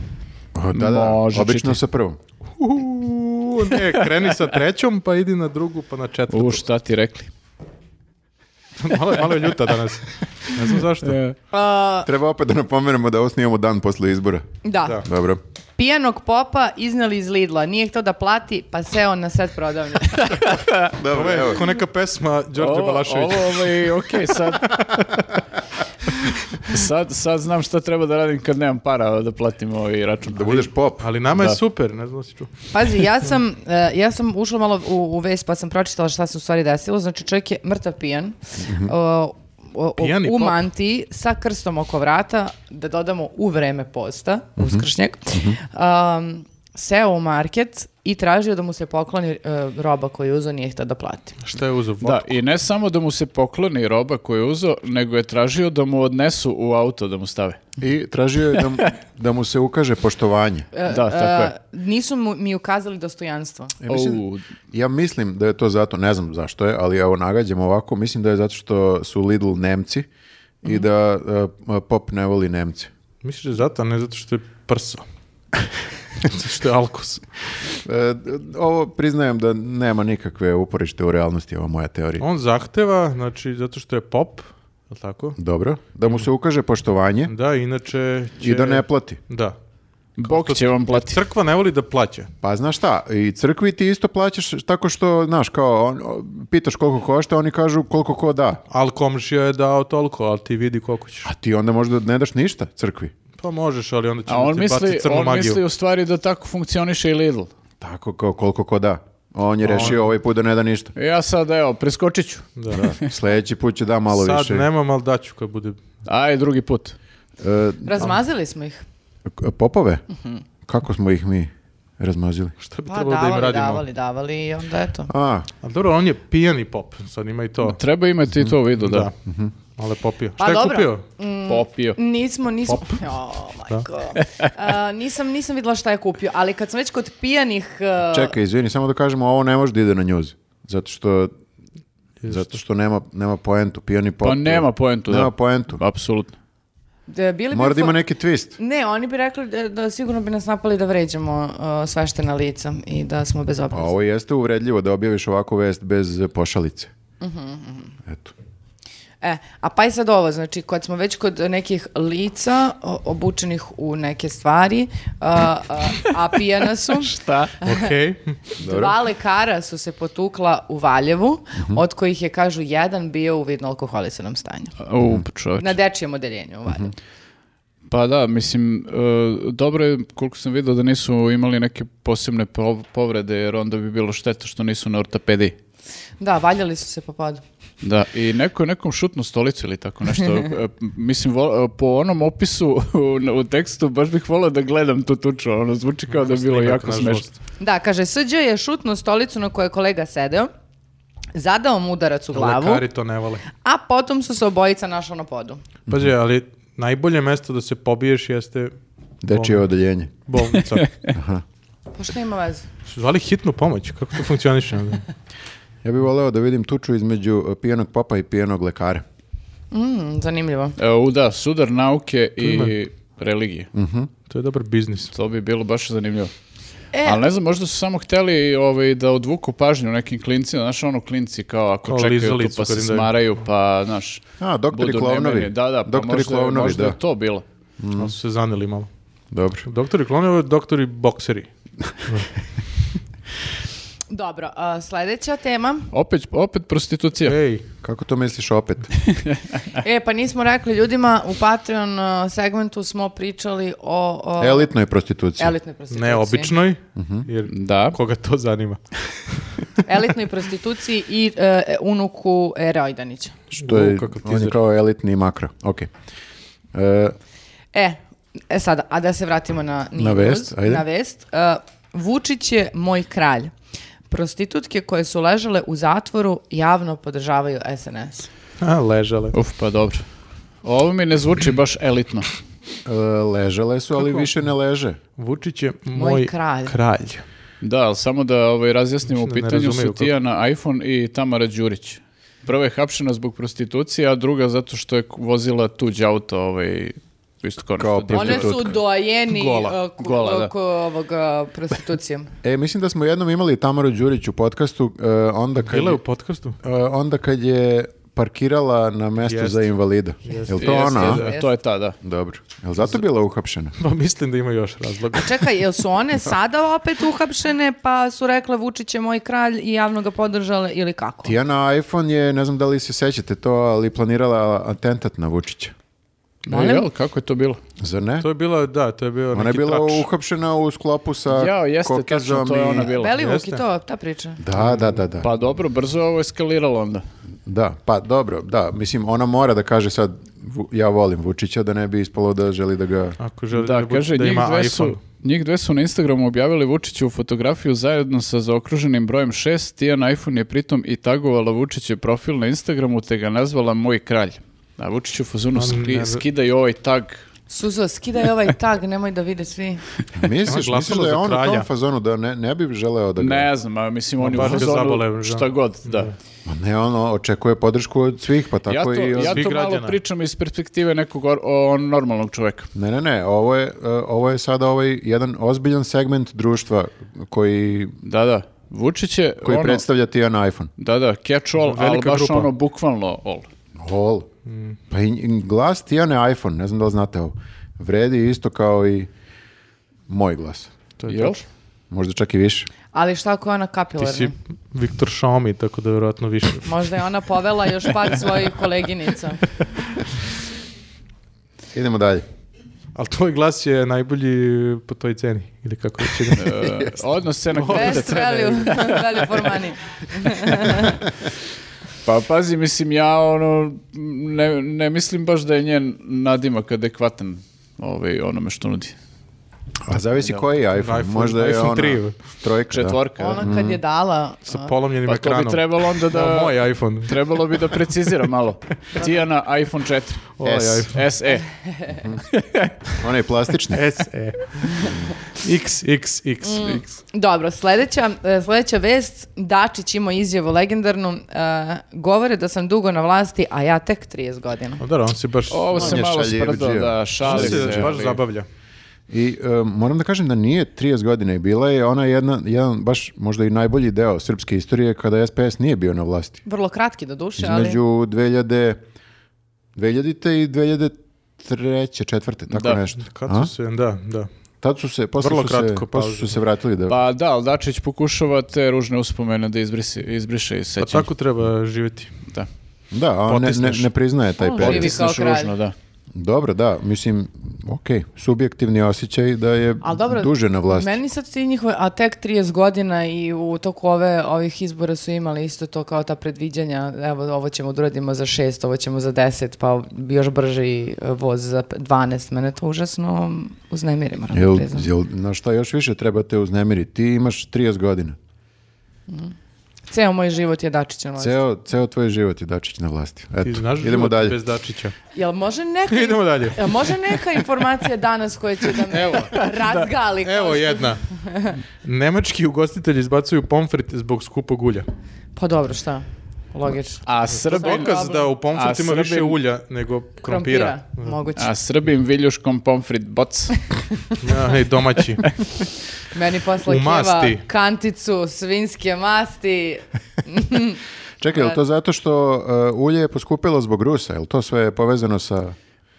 O, da, da, Može, obično čitaj. sa prvom. Uuu, ne, kreni sa trećom, pa idi na drugu, pa na U, četvrtu. šta ti rekli? malo, malo je ljuta danas. Ne znam zašto. E, Eh, Treba opet da napomenemo da ovo snimamo dan posle izbora. da. Da. Dobro. Pijanog popa izneli iz Lidla, nije htio da plati, pa seo na set prodavnje. Dobro, Ovo je evo. ko neka pesma Đorđe ovo, Balaševića. ovo, ovaj, okej, sad... sad... Sad znam šta treba da radim kad nemam para da platim ovaj račun. Da budeš pop. Ali nama Da. je super, ne znam da si čuo. Pazi, ja sam, e, ja sam ušla malo u, u vest, pa sam pročitala šta se u stvari desilo. Znači, čovjek je mrtav pijan. Mhm. o, o- o- Pijani u pop. mantiji sa krstom oko vrata, da dodamo u vreme posta, Mhm. uskršnjeg, um, seo u market i tražio da mu se pokloni e, roba koju je uzeo, nije htio da plati. Šta je uzeo? Da, i ne samo da mu se pokloni roba koju je uzeo, nego je tražio da mu odnesu u auto da mu stave. I tražio je da, mu- da mu se ukaže poštovanje. E, Da, tako je. e, Nisu mu, mi ukazali dostojanstvo. Ja mislim, Au. ja mislim da je to zato, ne znam zašto je, ali evo nagađam ovako, mislim da je zato što su Lidl Nemci i da e, pop ne voli Nemce. Misliš da je zato, a ne zato što je [LAUGHS] prso. zato što je alkos. E, ovo priznajem da nema nikakve uporište u realnosti, ova moja teorija. On zahteva, znači, zato što je pop, je li tako? Dobro, da mu se ukaže poštovanje Da, inače će... i da ne plati. Da. Bog će vam platiti. Crkva ne voli da plaća. Pa znaš šta, i crkvi ti isto plaćaš tako što, znaš, kao, on, o, pitaš koliko košta, oni kažu koliko ko da. Al komšija je dao toliko, ali ti vidi koliko ćeš. A ti onda možda ne daš ništa crkvi. Pa možeš, ali onda će A on on ti misli, baciti crnu on [LAUGHS] magiju. misli u stvari da tako funkcioniše i Lidl. Tako kao koliko ko da. On je rešio ovaj put da ne da ništa. E, Ja sad, evo, preskočit ću. Da. Sljedeći put će da malo Sad više. nemam, ali daću kad bude. Aj, drugi put. E, Razmazili smo ih. Mhm. k- popove? Kako smo ih mi razmazili. Šta bi Pa trebalo da im davali, radimo? davali, davali i onda eto. A, Ali dobro, on je pijani pop, sad ima i to. Treba imati i to u vidu, da. Mhm. Da. Malo je popio. Pa Šta je dobro. kupio? [LAUGHS] Popio. Nismo, nismo... Oh my god. A, nisam, nisam videla šta je kupio, ali kad sam već kod pijanih... uh, a, čekaj, izvini, samo da kažemo, ovo ne može da ide na njuz. Zato što, zato što nema, nema poentu. Pijani pop. Pa nema poentu, da. Nema poentu. Apsolutno. da, bili bi Mora da fo- ima neki twist. Ne, oni bi rekli da, da sigurno bi nas napali da vređamo uh, svaštena lica i da smo bez A ovo jeste uvredljivo da objaviš ovakvu vest bez eh, pošalice. Mhm, Eto. E, a pa i sad ovo, znači, kad smo već kod nekih lica o- obučenih u neke stvari, a, a, a pijana [LAUGHS] su, Šta? Okej. dva lekara su se potukla u Valjevu, od kojih je, kažu, jedan bio u vidno alkoholisanom stanju. U, čovječe. Na dečijem odeljenju u Valjevu. Pa da, mislim, e, dobro je koliko sam vidio da nisu imali neke posebne pov- povrede, jer onda bi bilo šteta što nisu na ortopediji. Da, valjali su se po podu. Da, i neko je nekom šutnu stolicu ili tako [LAUGHS] nešto. E, Mislim, vo- e, po onom opisu u, na- u tekstu baš bih volio da gledam tu tuču, ono zvuči kao da je bilo Snimak, jako nažalost. smešno. Da, kaže, Sđ je šutnuo stolicu na kojoj je kolega sedeo, zadao mu udarac u glavu, Lekari to ne vole. a potom su se obojica našla na podu. Pazi, ali najbolje mesto da se pobiješ jeste Dečije Bom. odeljenje. bolnica. Pa šta ima veze? Su Zvali hitnu pomoć, kako to funkcioniše? onda? Ja bih voleo da vidim tuču između eh, pijanog popa i pijanog lekara. Mm, zanimljivo. E, U, da, sudar nauke i religije. To je dobar biznis. To bi bilo baš zanimljivo. E, Ali ne znam, možda su samo hteli ovaj, da odvuku pažnju nekim klincima. Znaš, ono klinci kao ako Kao čekaju tu lizalicu pa kad se im daju. smaraju, pa, znaš, A, doktori budu klovnovi. nemirni. Da, da, pa Doktori možda, klovnovi, možda da. je to bilo. Ali su se zaneli malo. Dobro. Doktori klonovi, doktori bokseri. dobro, a, sledeća tema. Opet, opet prostitucija. E. Ej, Kako to misliš opet? E, pa nismo rekli ljudima, u Patreon a, segmentu smo pričali o, o Elitnoj prostituciji. elitnoj prostituciji. neobičnoj, jer Da. koga to zanima. elitnoj prostituciji i e, unuku Ere Ojdanića. Što je, U, kakav on je teaser. kao elitni makro. Ok. E, E, e sada, a da se vratimo na nije Na news, vest, ajde. Na vest. E, Vučić je moj kralj. Prostitutke koje su ležale u zatvoru javno podržavaju SNS. A, ležale. Uf, pa dobro. Ovo mi ne zvuči baš elitno. e, ležele su, ali više ne leže. Vučić je Moj moj, kralj. kralj. Da, ali samo da ovaj, razjasnimo, u Mislim da ne pitanju su razumeju Tijana iPhone i Tamara Đurić. Prva je hapšena zbog prostitucije, a druga zato što je vozila tuđ auto ovaj, isto kao, Kao nešto divno. One su Prostitutka. dojeni Gola, e, ku- gola, da. oko ovog e, prostitucije. E, mislim da smo jednom imali Tamaru Đurić u podcastu, e, onda kad, Bila je, je u podcastu? e, onda kad je parkirala na mestu Jeste. za invalida. Je li to Jeste, ona? a? jeste, Jeste. To je ta, da. Dobro. Je li zato bila uhapšena? Pa mislim da ima još razloga. A čekaj, jel su [LAUGHS] one sada opet uhapšene pa su rekle Vučić je moj kralj i javno ga podržale ili kako? Tijana iPhone je, ne znam da li se sećate to, ali planirala atentat na Vučića. Molim? E, jel, kako je to bilo? Zar ne? To je bila, da, to je bio neki Ona je bila trač. uhapšena u sklopu sa Jao, jeste, tačno, Kokezom to je i- ona bila. Belivuk i Jeste. to, ta priča. Da, da, da, da. Pa dobro, brzo je ovo eskaliralo onda. Da, pa dobro, da, mislim ona mora da kaže sad "Vu- ja volim Vučića da ne bi ispalo da želi da [LAUGHS] ga Ako želi da, Da, bude- kaže, da njih, ima dve iPhone. su, njih dve su na Instagramu objavili Vučiću fotografiju zajedno sa zaokruženim brojem 6. Tijan iPhone je pritom i tagovala Vučićev profil na Instagramu te ga nazvala Moj kralj. A Vučić u fazonu Pa skri, ne- skida i ovaj tag. Suzo, skidaj ovaj tag, nemoj da vide svi. misliš, Ona je misliš da je glasala on za u tom kralja. fazonu da ne, ne bi želeo da ga Ne znam, a mislim on je u baš ga zabole, fazonu da. šta god. Da. Ma ne, ono očekuje podršku od svih, pa Ja tako to, i on- ja Svih to malo građana. pričam iz perspektive nekog or- o- normalnog čoveka. Ne, ne, ne, ovo je e, ovo je sada ovaj jedan ozbiljan segment društva koji Da, da. Vučić je koji ono, predstavlja Tijan iPhone. da, da, catch all, ali Velika baš grupa. ono bukvalno all. Hol. Mm. Pa i i glas Tijane iPhone, ne znam da li znate ovo, vredi isto kao i moj glas. To je Jel? tačno. Možda čak i više. Ali šta ako je ona Ti kapilarna? si Viktor Šaomi, tako da vjerojatno više. Možda je ona povela još par svojih koleginica. Idemo dalje. Ali tvoj glas je najbolji po toj ceni, ili kako već [LAUGHS] ide. E, odnos [LAUGHS] cena Best value, [LAUGHS] value for money. Pa pazi, mislim, ja ono, ne, ne mislim baš da je njen nadimak adekvatan ovaj, onome što nudi. A zavisi Da. koji je iPhone. iPhone- Možda je iPhone ona 3. trojka. Četvorka. da. Ona Ono kad je dala... ono. Sa a, polomljenim Pa to ekranom. bi trebalo onda da... O, moj iPhone. Trebalo bi da precizira malo. Tijana iPhone 4. Oj, S. iPhone. SE. Ona je [LAUGHS] plastična. SE. E. X, X, X, Mm. X. Dobro, sledeća, e, sledeća vest, Dačić ima izjavu legendarnu, e, govore da sam dugo na vlasti, a ja tek 30 godina. No, dobro, on si baš... Ovo se On je malo šaljiv sprdo džio. da on šali se se. ovaj. baš ali- zabavlja. I em, moram da kažem da nije 30 godina i bila je ona jedna, jedan baš možda i najbolji deo srpske istorije kada SPS nije bio na vlasti. Vrlo kratki do duše, Između 2000, 2000 i 2003. četvrte, tako Da. nešto. Kad A? su se, da, da. Tad su se, posle Vrlo su kratko, se, posle pauza. su se vratili da... Pa da, ali Dačić pokušava te ružne uspomene da izbrisi, izbriše iz Pa sećanja. tako treba živjeti. Da. da, on ne, ne, potisneš. ne priznaje taj On period. živi kao Potisneš kralj. ružno, da. Dobro, da, mislim, ok, subjektivni osjećaj da je Ali dobro, duže na vlasti. Meni sad ti njihove, a tek 30 godina i u toku ove, ovih izbora su imali isto to kao ta predviđanja, evo ovo ćemo da uradimo za 6, ovo ćemo za 10, pa još brže i e, voz za pe- 12. Mene to užasno uznemiri, moram da Jel, priznam. jel, na šta još više trebate uznemiriti? Ti imaš 30 godina. Ceo moj život je Dačić na vlasti. Ceo, ceo tvoj život je Dačić na vlasti. Ti Eto, znaš idemo život dalje. bez Dačića. [LAUGHS] Jel može neka, Idemo dalje. jel može neka informacija danas koja će da me Evo. razgali? kao Evo što- jedna. Nemački ugostitelji izbacuju pomfrit zbog skupog ulja. Pa dobro, šta? Logično. A Srbin, Dokaz da u pomfritu A ima više Srbin- ulja nego krompira. Krompira, moguće. a Srbim viljuškom pomfrit boc. Ja, ej, [LAUGHS] domaći. Meni posle U keva masti. kanticu svinske masti. Čekaj, E. je li to zato što uh, ulje je poskupilo zbog Rusa? Je li to sve povezano sa...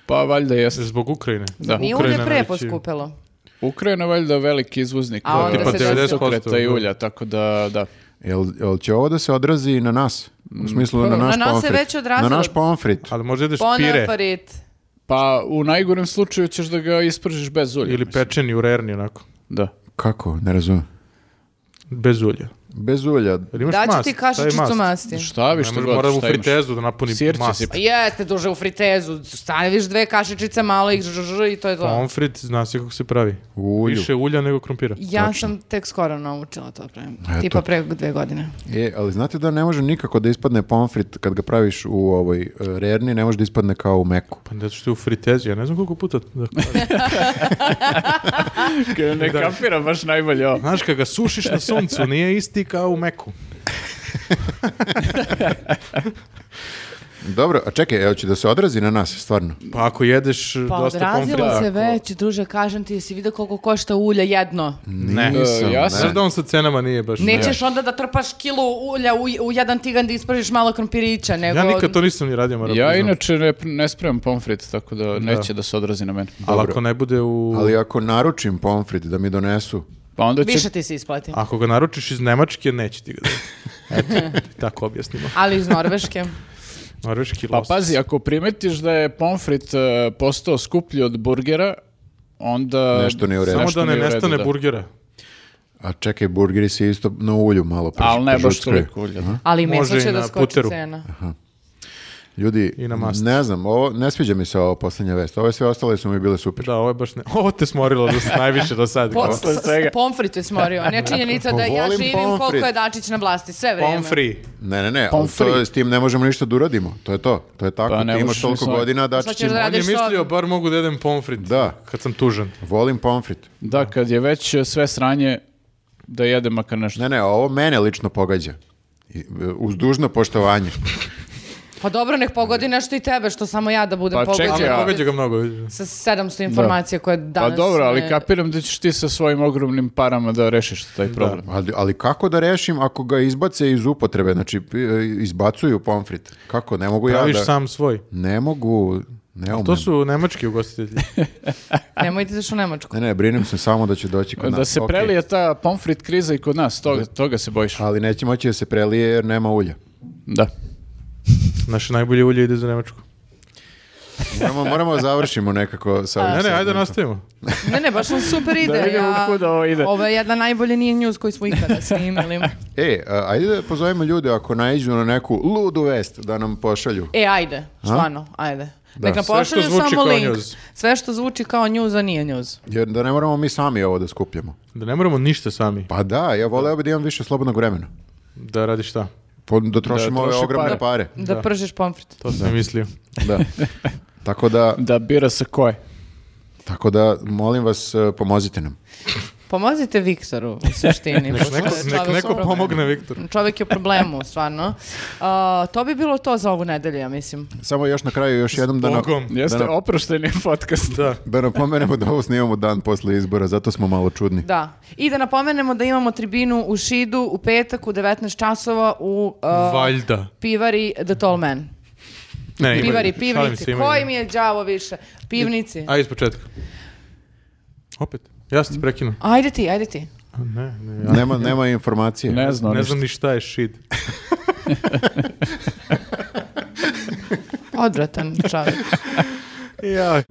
Pa valjda jeste. Zbog Ukrajine. Da. Nije Ukrajina ulje pre najveći- poskupelo. Ukrajina je valjda veliki izvoznik A onda Tipa se desilo- 90%, sukreta i da. ulja, tako da, da. Jel, jel će ovo da se odrazi i na nas? U smislu na Mm, Na naš nas se pomfrit. već odrazilo. Na naš pomfrit. Ali možda ideš Pa pire Ponafarit. Pa u najgorem slučaju ćeš da ga ispržiš bez ulja. ili mislim. pečeni u rerni onako. Da. Kako? Ne razumem. Bez ulja. Bez ulja. Jel imaš Daću mast? ti Šta je kašičicu mast? masti. Šta vi što Ne, god, Moram u šta imaš? fritezu da napuni Sirće mast. si- Jeste, duže u fritezu. Staviš dve kašičice, malo ih žžžž i to je to. Pomfrit, zna se kako se pravi. U ulju. Više ulja nego krompira. Ja sam tek skoro naučila to pravim. Eto. Tipa pre dve godine. E, ali znate da ne može nikako da ispadne pomfrit kad ga praviš u ovoj e, rerni, ne može da ispadne kao u meku. Pa zato što je u fritezu, ja ne znam koliko puta. Da... [LAUGHS] Ne kapiram baš najbolje ovo. Znaš, kad ga sušiš na suncu, nije isti kao u meku. Dobro, a čekaj, evo će da se odrazi na nas, stvarno. Pa ako jedeš Pa dosta odrazilo pomfrita. se već, druže, kažem ti, jesi vidio koliko košta ulja jedno? Ne, E, ja sam- Znaš da on sa cenama nije baš... Nećeš onda da trpaš kilu ulja u, u jedan tigan da ispražiš malo krompirića, nego... Ja nikad to nisam ni radio, moram Ja priznam. inače ne, ne spremam pomfrit, tako da neće da se odrazi na mene. Ali ako ne bude u... Ali ako naručim pomfrit da mi donesu, Pa onda će... Više ti se isplati. Ako ga naručiš iz Nemačke, neće ti ga [LAUGHS] da... Eto, tako objasnimo. Ali iz [LAUGHS] Norveške. Norveški Pa los. pazi, ako primetiš da je pomfrit e, postao skuplji od burgera, onda... Nešto nije u redu. Samo nešto da ne nije u redu, nestane da. burgera. a čekaj, burgeri se isto na ulju malo prži. Ali ne baš prežuckaju. toliko ulja. da. Ali i Može meso i će na da skoči puteru. cena. Ljudi, I na mast. ne znam, ovo, ne sviđa mi se ovo posljednja vest. Ove sve ostale su mi bile super. Da, ovo je baš ne... Ovo te smorilo da se najviše do sad. Po, Posle s- s- svega. Pomfrit je smorio. Ne činjenica da ja Volim živim pomfrit. koliko je Dačić na vlasti. Sve vreme. Pomfri. Ne, ne, ne, ali to je- Pomfrit. s tim ne možemo ništa da uradimo. To je to, to je tako. Pa ne Ti imaš možeš toliko ni sa- godina, Sad dačić ćeš da On je radiš to. mislio, bar mogu da jedem pomfrit. Da. Kad sam tužan. volim pomfrit. Da, kad je već e, sve sranje, da jedem makar nešto. Ne, ne, ovo mene lično pogađa. I, e, Uz dužno poštovanje. Pa dobro, nek pogodi nešto i tebe, što samo ja da budem Pa pogođena. čekaj, Ali Ja. pogađa ga mnogo. Sa 700 informacija koje Pa danas... dobro, ali ne- [LAUGHS] kapiram da ćeš ti sa svojim ogromnim parama da rešiš taj problem. Ali, ali kako da rešim ako ga izbace iz upotrebe? Znači, p- e, izbacuju pomfrit. Kako? Ne mogu ja Praviš da... sam svoj. Ne mogu, ne umem. To su [LAUGHS] nemački ugostitelji. Nemojte zašto u Nemačku. Ne, ne, brinem se samo da će doći kod nas. Da se Okej. prelije ta pomfrit kriza i kod nas, toga, toga se bojiš. Ali neće moći da se prelije jer nema ulja. Da. Naše najbolje ulje ide za Nemačku. Moramo, moramo da završimo nekako sa ovim Ne, ne, ajde segmentom. nastavimo. Ne, ne, baš nam super ide. vidimo ja- kuda ovo ide. Ovo je jedna najbolje nije news koju smo ikada snimili. E, a, ajde da pozovemo ljude ako naiđu na neku ludu vest da nam pošalju. E, ajde, stvarno, ajde. Nek nam Sve što pošalju zvuči samo kao link. news. Sve što zvuči kao news, a nije news. Jer da ne moramo mi sami ovo da skupljamo. Da ne moramo ništa sami. Pa da, ja voleo bi da imam više slobodnog vremena. Da radi šta? Po- da trošimo ove troše ogromne pare. Da, pržiš pomfrit. To sam mislio. Da. Tako da, Da bira sa koje. tako da, molim vas, e, pomozite nam. Pomozite Viktoru u suštini. pošto je Neko, čovek nek, neko u problemu. pomogne, Viktor. Čovek je u [LAUGHS] problemu, stvarno. A, to bi bilo to za ovu nedelju, ja mislim. Samo još na kraju, još jednom da, na, Bogom. Jeste Da, da. oprošteni podcast. Da. da napomenemo da ovo snimamo dan posle izbora, zato smo malo čudni. Da. I da napomenemo da imamo tribinu u Šidu u petak u 19 časova u uh, Valjda. pivari The Tall Man. Ne, imaju. Pivari, Šalim pivnici. se, imaju. Koji mi je đavo više? Pivnici. A iz početka. Opet. Ja sam ti prekinuo. Ajde ti, ajde ti. A, Ne, ne, ja Nema, nema informacije. Ne znam. ne ništa. znam ni šta je shit. Odvratan čovjek. Ja.